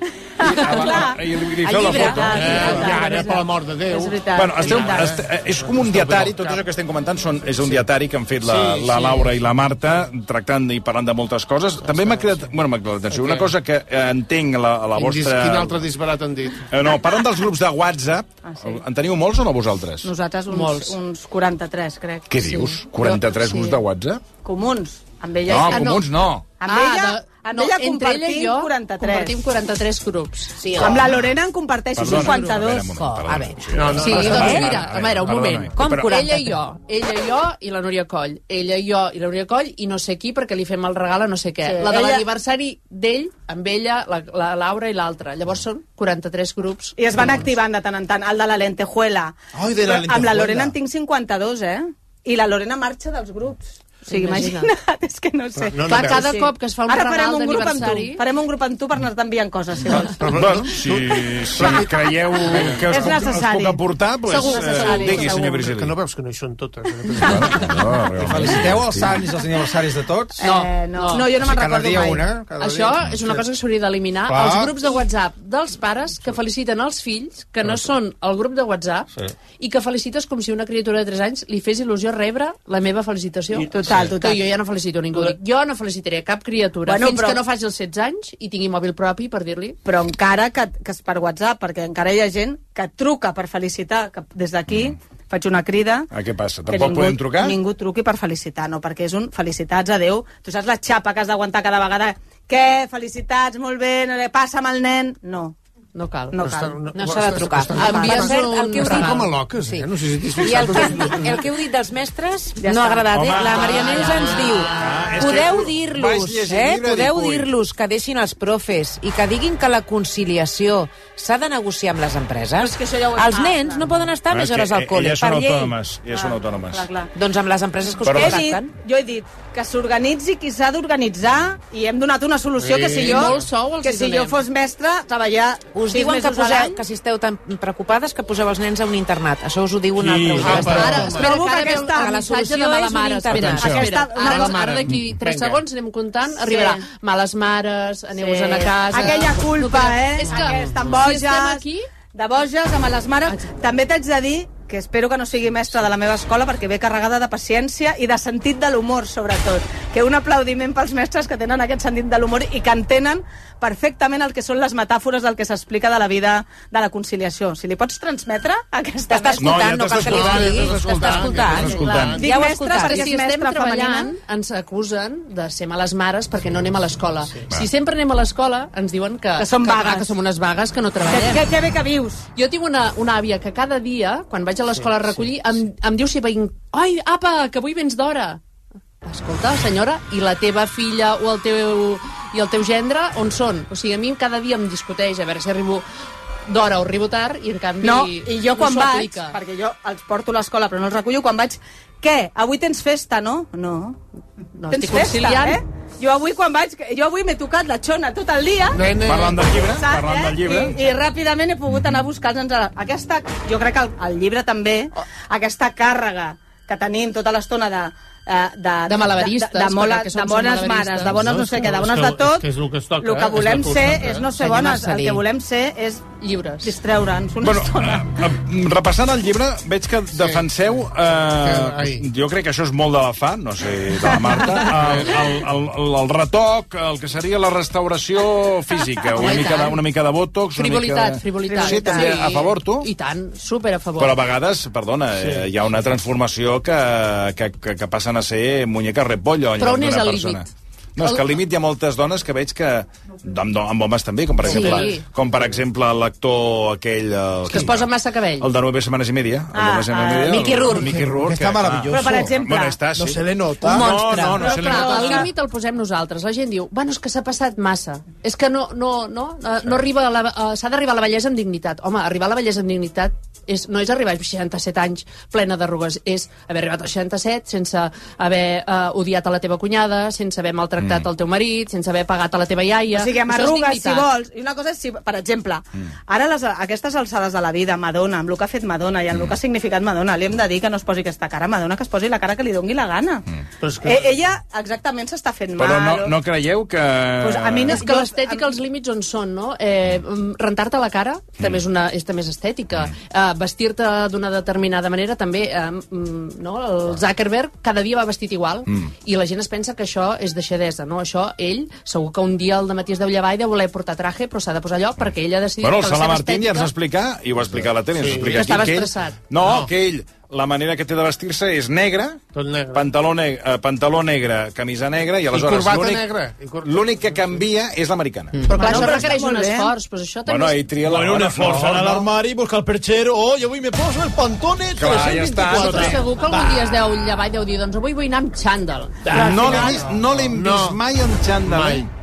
i, li, li El feu la llibre, foto. clar, clar, clar, I ara, per l'amor de Déu... És veritat. Bueno, esteu, és veritat. est eh, és com un dietari, tot això que estem comentant són, és un dietari que han fet la, Sí, la sí. Laura i la Marta, tractant i parlant de moltes coses. També m'ha creat, bueno, m'ha creat atenció, una cosa que eh, entenc la, la Quin, dis, vostra... quin altre disbarat han dit? Eh, no, parlen dels grups de WhatsApp. Ah, sí. En teniu molts o no vosaltres? Nosaltres uns, Molts. uns 43, crec. Què dius? 43 Jo- grups sí. de WhatsApp? Comuns. Amb ella... No, Ah, comuns no. Amb ella, Ah, de- amb no, ella entre compartim ella i jo 43. compartim 43 grups. Sí, Amb la Lorena en comparteixo Perdona, 52. perdona, a veure. No, no, Sí, no, doncs no, no, mira, a veure, un perdona, moment. Com Però 40? Ella i jo, ella i jo i la Núria Coll. Ella i jo i la Núria Coll i no sé qui perquè li fem el regal a no sé què. Sí, la de ella- l'aniversari d'ell, amb ella, la, la Laura i l'altra. Llavors són 43 grups. I es van activant de tant en tant. El de la lentejuela. Ai, de la Però Amb la lentejuela. Lorena en tinc 52, eh? I la Lorena marxa dels grups. O sigui, Imagina't. imagina't. és que no sé. no Clar, veus. cada cop que es fa un Ara regal farem un grup amb tu. d'aniversari- Farem un grup amb tu per anar-te enviant coses, si vols. Bueno, si, si creieu que us És puc, us necessari. puc aportar, pues, Segur, necessari, digui, segur. senyor Virgili. Que no veus que no hi són totes. Feliciteu els sants i els aniversaris de tots. Eh, no. no, jo no me'n Cada recordo dia mai. una, cada Això dia. és una cosa que s'hauria d'eliminar. Clar. Els grups de WhatsApp dels pares que feliciten els fills, que no són el grup de WhatsApp, Sí. i que felicites com si una criatura de 3 anys li fes il·lusió rebre la meva felicitació. I- total, total. Que jo ja no felicito ningú. Dic, Jo no felicitaré cap criatura Bueno, bueno, fins però- però... que no faci els 16 anys i tingui mòbil propi per dir-li... però encara que, que és per WhatsApp, perquè encara hi ha gent que truca per felicitar, que des d'aquí mm. faig una crida... Ah, què passa? que Tampoc podem trucar? Ningú truqui per felicitar, no, perquè és un felicitats, adeu. Tu saps la xapa que has d'aguantar cada vegada? Què? Felicitats, molt bé, no, passa'm el nen... No, No cal. No cal. No s'ha de trucar. Envia cert el que heu dit. Com a loques, eh? No sé si t'has I el fixat. que, el que heu dit dels mestres Ja està. no ha agradat. eh? Home, La Maria va, Neus va, ens va. diu Ah, és que podeu vaig dir-los llegir eh? llibre podeu d'Ipull. dir-los que deixin els profes i que diguin que la conciliació s'ha de negociar amb les empreses. ja ho hem- Els Ah, nens no poden estar Bueno, més és hores que Eh, al col·le, elles són per llei. autònomes, elles són autònomes. Clar, clar. Doncs amb les empreses que us Però- He dit, contracten. jo he dit que s'organitzi qui s'ha d'organitzar i hem donat una solució que si Sí. jo, Molt sou els que hi si donem. jo fos mestre, treballar Us sis diuen que, mesos a poseu, l'any. que si esteu tan preocupades que poseu els nens a un internat. Això us ho diu una Sí. altra Ah, però- Ara, espera, Trobo que que ara ve el aquesta, que la missatge de solució mala és un mare. Espera, internat. espera, Aquesta- ara- la mare. ara d'aquí tres Vinga. segons anem comptant, Sí. arribarà males mares, aneu-vos a casa. Aquella culpa, Escolta, eh? És que Estan si boges, estem aquí... de boges, amb les mares. També t'haig de dir que espero que no sigui mestra de la meva escola perquè ve carregada de paciència i de sentit de l'humor, sobretot. Que un aplaudiment pels mestres que tenen aquest sentit de l'humor i que entenen perfectament el que són les metàfores del que s'explica de la vida de la conciliació. Si li pots transmetre aquesta... T'està escoltant, no, cal que li diguis, t'està escoltant. Ja ho Dic has mestre escoltat. perquè si estem treballant ens acusen de ser males mares perquè no anem a l'escola. Si sempre anem a l'escola ens diuen que... Que som vagues. ah, Que, som unes vagues que no treballem. Que- que- que bé que vius. Jo tinc una, una àvia que cada dia, quan vaig a l'escola a recollir, em, em diu si veïn... Ai, apa, que avui vens d'hora. Escolta, senyora, i la teva filla o el teu, i el teu gendre, on són? O sigui, a mi cada dia em discuteix a veure si arribo d'hora o arribo tard i en canvi No, i jo no quan s'ho vaig, aplica. perquè jo els porto a l'escola però no els recullo, quan vaig, què, avui tens festa, no? No. No, tens estic conciliant. eh? Jo avui quan vaig, jo avui m'he tocat la xona tot el dia. Nene. Parlant del llibre, Saps, parlant eh? del llibre. I, I ràpidament he pogut anar a buscar els ens. Aquesta, jo crec que el, el llibre també, aquesta càrrega que tenim tota l'estona de, eh, de, De malabaristes, de, de, de, mola- perquè el que som de bones són mares, de bones no, sé què, de és bones que- de tot, és que és el que es toca, el eh? que És volem el que us ser toca, és eh? no ser Senyor bones, el Marcelí. que volem ser és llibres, distreure'ns una bueno, estona. eh, Repassant el llibre, veig que defenseu... Eh, Ai. jo crec que això és molt de la fa, no sé, de la Marta. El, el, el, el, el retoc, el que seria la restauració física. Una Home, i mica de, tant. una mica de botox, una mica... Frivolitat, de- frivolitat. Sí, també, a favor, tu? I tant, super a favor. Però a vegades, perdona, sí. eh, hi ha una transformació que, que, que, que passen a ser muñecas repollo en Però lloc on és d'una el persona. límit? No, és El- que al límit hi ha moltes dones que veig que... Amb, do- amb homes també, com per Sí. exemple com per exemple l'actor aquell... El, Que es posa massa cabell. El de 9 setmanes i media. El de Ah, nueve semanas y ah, media, el- Mickey Rourke. Mickey Rourke. Está que- maravilloso. Però, per exemple, bueno, está, sí. no se le nota. No, Monstre. No, no, però, se le clar, nota. el límit el posem nosaltres. La gent diu, bueno, és que s'ha passat massa. És que no, no, no, eh, no arriba a la... eh, S'ha d'arribar a la bellesa amb dignitat. Home, arribar a la bellesa amb dignitat és, no és arribar als 67 anys plena d'arrugues, és haver arribat als 67 sense haver eh, odiat a la teva cunyada, sense haver maltractat mm. el teu marit, sense haver pagat a la teva iaia. O sigui, amb Això és arrugues, si dignitat. vols. I una cosa és, si, per exemple, Mm. ara les, a aquestes alçades de la vida, Madonna, amb el que ha fet Madonna i amb Mm. el que ha significat Madonna, li hem de dir que no es posi aquesta cara a Madonna, que es posi la cara que li doni la gana. Però és Que... Eh, ella exactament s'està fent Mm. Però mal. no, o- no creieu que... Pues a mi no- És que jo- l'estètica, els límits on són, no? Eh, mm, Rentar-te la cara també és, una, és també és estètica. Mm. Eh, Vestir-te d'una determinada manera també, eh, mm, no? El Zuckerberg cada dia va vestit igual Mm. i la gent es pensa que això és deixadesa, no? Això, ell, segur que un dia al matí es deu llevar i deu voler portar traje, però s'ha de posar allò perquè ell ha decidit Bueno, el que la Sala seva Martín ja ens va estètica... explicar, i ho va explicar a la tele, ens va explicar Que estava aquí, que ell, estressat. no, no, que ell, la manera que té de vestir-se és negre, negre. Pantaló, neg eh, pantaló negre, camisa negra, i aleshores corbata l'únic- negra. L'únic que canvia és l'americana. Però clar, Bueno, això però requereix està un molt bé. esforç, però això també... Bueno, és- ahí tria la Bueno, un hora, esforç, no, anar a no. l'armari, buscar el perchero, oh, i avui me poso el pantone Clar, ja està, Però 324. segur que algun dia es deu llevar i deu dir doncs avui vull anar amb xandall. No l'he vist, no l'he vist mai en xandall. eh? Mai.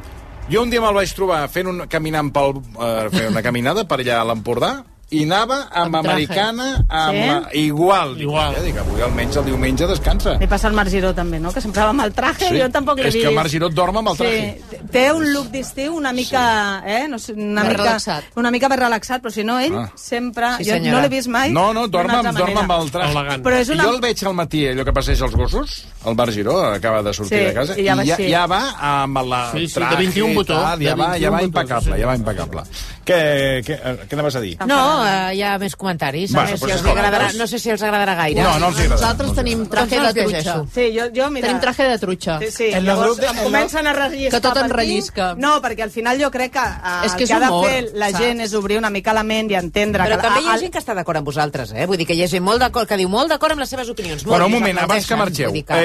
Jo un dia me'l vaig trobar fent un, caminant pel, eh, fer una caminada per allà a l'Empordà i anava amb Amb traje. americana amb Sí? la, igual. Igual. Ja, dic, avui almenys el diumenge descansa. Li passa al Marc Giró, també, no? Que sempre va amb el traje, Sí. jo tampoc l'he És vist. que el Marc Giró dorm amb el traje. Sí. Té un look d'estiu una mica... Sí. Eh? No, sé, una Més mica, relaxat. Una mica més relaxat, però si no, ell Ah. ah. sempre... Sí, jo senyora. no l'he vist mai. No, no, dorm, d'una altra amb, dorm manera. amb el traje. Elegant. Però és una- Jo el veig al matí, eh, allò que passeja els gossos, el Bar Giró, acaba de sortir Sí, de casa, i ja va ja, així. ja va amb la Sí, sí, de traje, 21 i botó, tal, de ja, va, ja 21 va botó, impecable, sí. ja va impecable. Què, què, eh, què anaves a dir? No, eh, hi ha més comentaris. Va, a doncs més, si els escolta, agradarà, doncs- no sé si els agradarà gaire. No, no els agradarà. Nosaltres tenim traje Doncs de no els trutxa. llegeixo. Sí, jo, jo, mira... Tenim traje de trutxa. Sí, sí. En el Llavors grup de- em comencen a relliscar. Que tot per en aquí. rellisca. No, perquè al final jo crec que eh, És que és el que ha de humor, fer la saps? gent és obrir una mica la ment i entendre Però que... també hi ha el- gent que està d'acord amb vosaltres, eh? Vull dir que hi ha gent molt d'acord, que diu molt d'acord amb les seves opinions. Molt, Bueno, un i les moment, abans que aplaudeixen, marxeu, vull dir que hi ha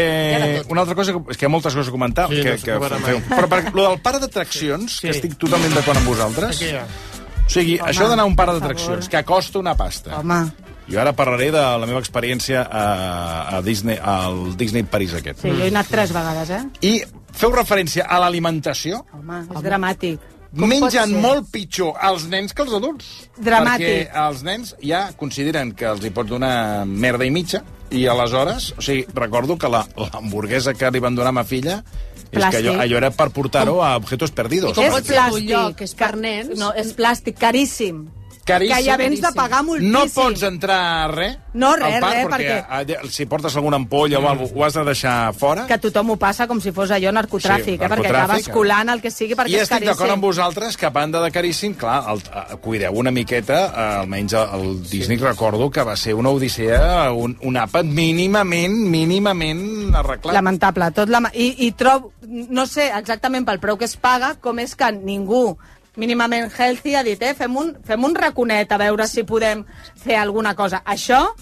de eh, tot. una altra cosa, que, és que hi ha moltes coses a comentar, sí, que, no que s'acabarà feu. mai. Però per, lo del parc d'atraccions, sí. que estic totalment d'acord amb vosaltres, Aquí hi ha. O sigui, Home, això d'anar a un parc d'atraccions, que costa una pasta. Home. Jo ara parlaré de la meva experiència a, a Disney, al Disney París aquest. Sí, jo he anat tres vegades, eh? I feu referència a l'alimentació? Home, és dramàtic. Com pot Mengen ser? molt pitjor els nens que els adults. Dramàtic. Perquè els nens ja consideren que els hi pots donar merda i mitja, i aleshores, o sigui, recordo que la- l'hamburguesa que li van donar a ma filla és Plàstic. que allò, allò era per portar-ho a Objetos Perdidos. És plàstic. que és per nens. No, és plàstic, caríssim. Caríssim. Que ja vens de pagar moltíssim. No pots entrar a res. No, res, al parc, res, perquè- perquè... allà, Si portes alguna ampolla mm. o alguna cosa, ho has de deixar fora. Que tothom ho passa com si fos allò narcotràfic, Sí, eh? Perquè narcotràfic, acabes eh? colant el que sigui perquè I és estic caríssim. d'acord amb vosaltres que, a banda de caríssim, clar, el, eh, cuideu una miqueta, eh, almenys el Disney recordo que va ser una odissea, un, un àpat mínimament, mínimament arreglat. Lamentable. Tot la... I, I trob, no sé exactament pel preu que es paga, com és que ningú mínimament healthy ha dit, eh, fem un, fem un raconet a veure si podem fer alguna cosa. Això,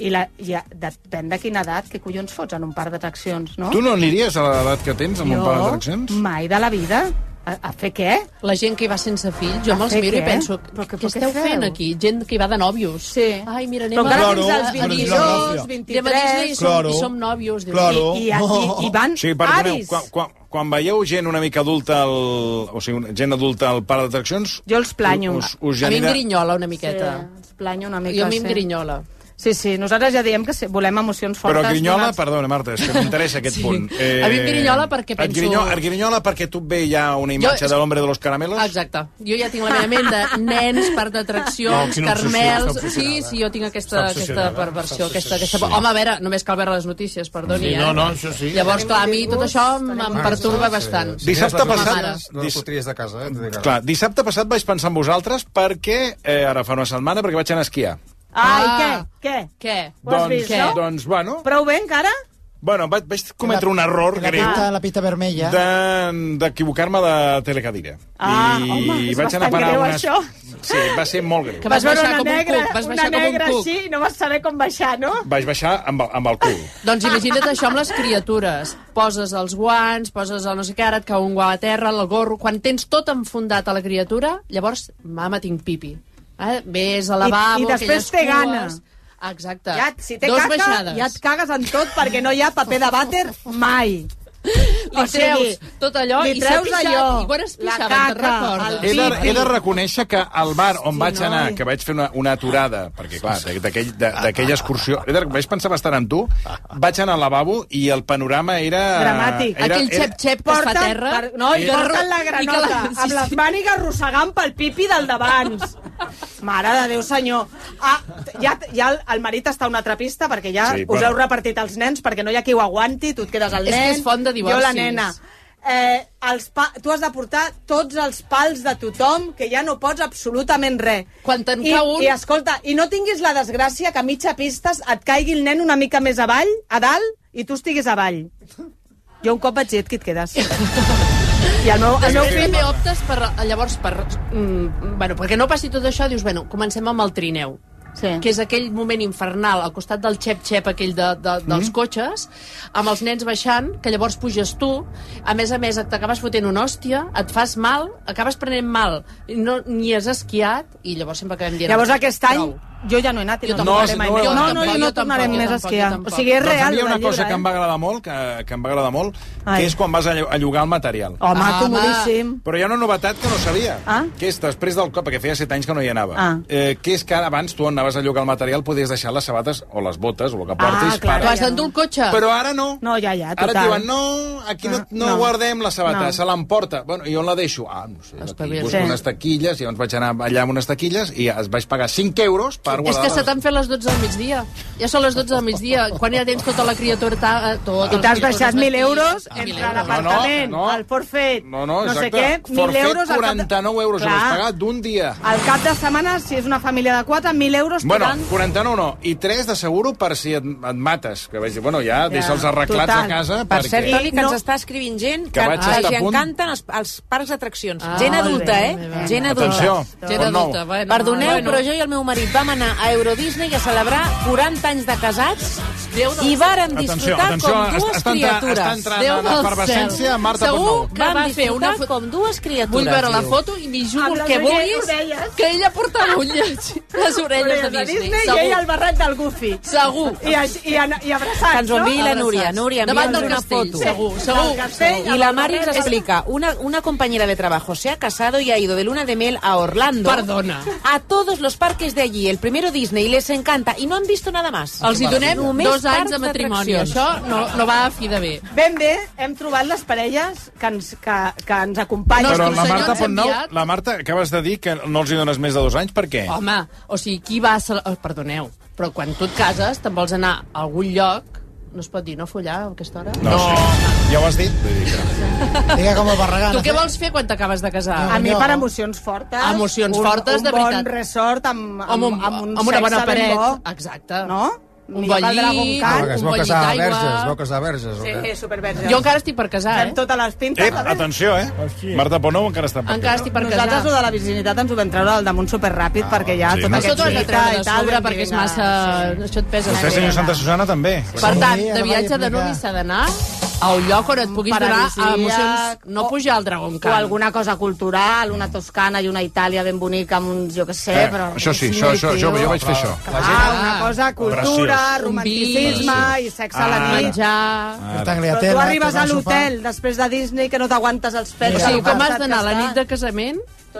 i, la, i a- depèn de quina edat, què collons fots en un parc d'atraccions, no? Tu no aniries a l'edat que tens amb un parc d'atraccions? Jo, mai de la vida. A, a fer què? La gent que hi va sense fills, jo A me'ls fer miro què? i penso, eh? Però que- què però esteu què feu? fent aquí? Gent que hi va de nòvios. Sí. Ai, mira, anem Però encara a... fins als a- 22, Anem a Disney i 23... som, i som nòvios. Dius. I, i, i, i van Sí, perdoneu, avis. quan, quan, quan veieu gent una mica adulta, al, o sigui, una- gent adulta al parc d'atraccions... Jo els planyo. Us, us genera... grinyola una miqueta. Sí, ens planyo una mica, Jo a mi em sí. grinyola. Sí, sí, nosaltres ja diem que sí, volem emocions fortes. Però grinyola, donats- perdona, Marta, és que m'interessa aquest Sí. punt. Eh, A mi em grinyola perquè Et penso- grinyola, et grinyola perquè tu et ve ja una imatge és- de l'hombre de los caramelos? Exacte. Jo ja tinc la meva ment de nens, parc d'atraccions, No, quina obsessió, carmels... està Sí, obsessionada. sí, jo tinc aquesta, Està aquesta obsessionada, perversió. està Aquesta, aquesta... obsessionada. Home, a veure, només cal veure les notícies, perdoni. Sí, no, eh? no, això sí. Llavors, Tenim clar, a mi tot això em, em tenim perturba marges, bastant. Dissabte Ma passat... mare. No dis... de casa, eh? Clar, dissabte passat vaig pensar en vosaltres perquè, eh, ara fa una setmana, perquè vaig anar a esquiar. Ai, què? Què? Ah. Què? Ho has doncs, vist, no? doncs, bueno... Prou bé, encara? Bueno, vaig, vaig cometre un error La greu pista, la pista vermella. de- d'equivocar-me de, telecadira. Ah, I home, és vaig anar a bastant parar greu, unes... això. Sí, va ser molt greu. Que vas veure una com un negra, cuc, vas una baixar com un negra cuc. així i no vas saber com baixar, no? Vaig baixar amb, el- amb el cul. Doncs imagina't això amb les criatures. Poses els guants, poses el no sé què, ara et cau un guant a terra, el gorro... Quan tens tot enfundat a la criatura, llavors, mama, tinc pipi. Eh? Ves a lavabo, I, i després aquelles té cues. gana. Exacte. Ja, si té Dos caca, baixades. ja et cagues en tot perquè no hi ha paper de vàter mai. Li treus tot allò li i s'ha treus pixat. allò, I quan es la pixava, te'n caca, recordes? He de, he de pipi. reconèixer que al bar on vaig noi. anar, que vaig fer una, una aturada, perquè clar, d'aquell- de- d'aquella excursió, he de, vaig pensar bastant en tu, vaig anar al lavabo i el panorama era... Dramàtic. Era, Aquell era, xep-xep que es fa a terra. Per, no, i Era- porten la i que la- granota, sí, amb les sí. mànigues arrossegant pel pipi del davant. Mare de Déu, senyor. Ah, ja, ja el, el marit està a una altra pista perquè ja Sí, sí, us bueno. heu repartit els nens perquè no hi ha qui ho aguanti, tu et quedes el És que nen, és font de jo la divorcis. nena. Eh, els pa... Tu has de portar tots els pals de tothom, que ja no pots absolutament res. Quan te'n I, cau un- I escolta, i no tinguis la desgràcia que a mitja pistes et caigui el nen una mica més avall, a dalt, i tu estiguis avall. Jo un cop vaig dir, "Aquí et quedes. Eh, I el meu, el meu Després fill... primer optes per, llavors per... Mm, bueno, perquè no passi tot això, dius, bueno, comencem amb el trineu. Sí. que és aquell moment infernal al costat del xep-xep aquell de, de, Mm-hmm. dels mm. cotxes, amb els nens baixant, que llavors puges tu, a més a més et acabes fotent una hòstia, et fas mal, acabes prenent mal, no, ni has esquiat, i llavors sempre acabem dient... Llavors aquest any jo ja no he anat i Jo no tampoc. tornaré No, mai no, més. jo No, no, tampoc, jo jo no tampoc, tornarem jo més a tampoc, esquiar. jo tampoc. O sigui, és doncs a real, mi hi ha el una cosa llibre, que eh? em va agradar molt, que, que em va agradar molt, Ai. que és quan vas a, llo- a llogar el material. Home, ah, comodíssim. Però hi ha una novetat que no sabia, Ah. que és després del cop, perquè feia 7 anys que no hi anava, Ah. eh, que és que ara abans tu on anaves a llogar el material podies deixar les sabates o les botes o el que Ah, portis. Tu has d'endur el cotxe. Però ara no. No, ja, ja, Ara total. et diuen, no, aquí no, no, no. guardem la sabata, no. se l'emporta. Bueno, I on la deixo? Ah, no sé, aquí busco Sí. unes taquilles, i llavors vaig anar allà amb unes taquilles i es vaig pagar 5 euros per És guardar que se les... t'han fet les 12 del migdia. Ja són les 12 del migdia, quan ja tens tota la criatura... Ta, tota tot, I t'has deixat 1.000 euros Ah, entre l'apartament, No, no, no. el forfet, No, no, no sé exacte. què, 1.000 Forfet, euros... al cap de- 49 euros, Clar, ho vas pagar d'un dia. Al cap de setmana, Ah, si és una família de 4, 1.000 euros Bueno, tirant... 49 no, i 3 de seguro per si et, et mates. Que vaig dir, bueno, ja, ja deixa'ls arreglats total. a casa. Per cert, perquè... Toni, que ens està escrivint gent que, Que vaig que estar els a punt. encanten els, els parcs Ah, d'atraccions. gent adulta, eh? Gent adulta. Atenció, Gent Gent Portnou. adulta. adulta, Bueno, Perdoneu, però jo i el meu marit vam anar a Euro Disney a celebrar 40 anys de casats i varen disfrutar Atenció, com atenció, està dues entrant- criatures. està entrant en efervescència Marta Segur Tornou. que Van va fer disfrutar una foto... com dues criatures. Vull veure la tio. foto i m'hi Amb jugo el les que orelles- vulguis que ella portava ulles, les orelles de Orelles de Disney. Disney i segur. ell el barret del Goofy. Segur. I a- i a- i abraçats, Que ens ho enviï no? la Núria. Abraçats. Núria, Davant envia'ns del una castell. foto. Sí. Del castell, I amb la el Mari ens barret. explica. Una, una compañera de trabajo se ha casado y ha ido de luna de miel a Orlando. Perdona. A todos los parques de allí. El primero Disney. Les encanta. I no han visto nada más. Els hi donem Només dos parcs anys de matrimoni. d'atraccions. Això no, no va a fi de bé. Ben bé, hem trobat les parelles que ens, que, que ens acompanyen. Però la Marta Pontnou, la Marta, acabes de dir que no els hi dones més de dos anys, per què? Home, o sigui, qui va a... cele- eh, Perdoneu, però quan tu et cases te'n vols anar a algun lloc no es pot dir no follar a aquesta hora? No, sí. Ja ho has dit? Vull dir que- Digue com a barragana. Tu què vols fer quan t'acabes de casar? A mi per emocions fortes. Emocions fortes, un de Un veritat. bon resort amb, amb, amb, Amb un- un amb una sexe bona ben paret. bo. Exacte. No? Un Millor que el ballí, Dragon Ah, Khan. que es veu un casar ballí verges, d'aigua. es veu casar verges. o què? Sí, superverges. Jo encara estic per casar, eh? Fem totes les pintes. Ep, atenció, eh? Marta Ponou encara està per Encara estic per casar. Nosaltres ho de la virginitat ens ho vam treure al damunt superràpid Ah, perquè ja sí, tot no? aquest Això t'ho has de mite treure de i tal, sobre vam dir, perquè és vinga, massa... Això et pesa. Vostè, senyor Santa Susana, també. Per tant, de viatge de nuvi s'ha d'anar a un lloc on et puguis donar eh, paradisíac, emocions... No pujar al Dragon o Khan. alguna cosa cultural, una Toscana i una Itàlia ben bonica amb uns, jo què sé, Eh, però... això sí, això, això, jo, jo vaig fer això. Ah, una cosa, cultura, Preciós. romanticisme Un i sexe a la Ara. nit. Ah, Menjar... Però tu arribes a l'hotel després de Disney que no t'aguantes els pets. O sigui, com has d'anar a la nit de casament,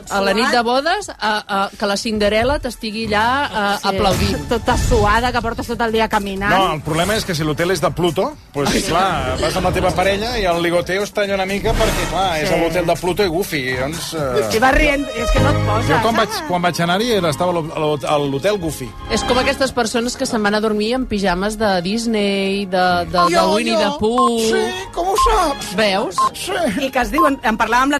a la nit de bodes, a, a, que la Cinderella t'estigui allà a, Sí. eh, aplaudint. Tota suada, que portes tot el dia caminant. No, el problema és que si l'hotel és de Pluto, Ah, doncs, clar, vas amb la teva parella i el ligoteo es talla una mica perquè, clar, és a l'hotel de Pluto i Goofy. Doncs, I eh... vas rient, és que no et poses. Jo quan vaig, quan vaig anar-hi era- estava a l'ho- a l'ho- a l'hotel Goofy. És com aquestes persones que se'n van a dormir en pijames de Disney, de, de, de Jo, Winnie jo. the Pooh... Sí, com ho saps? Veus? I que es diuen, en parlàvem la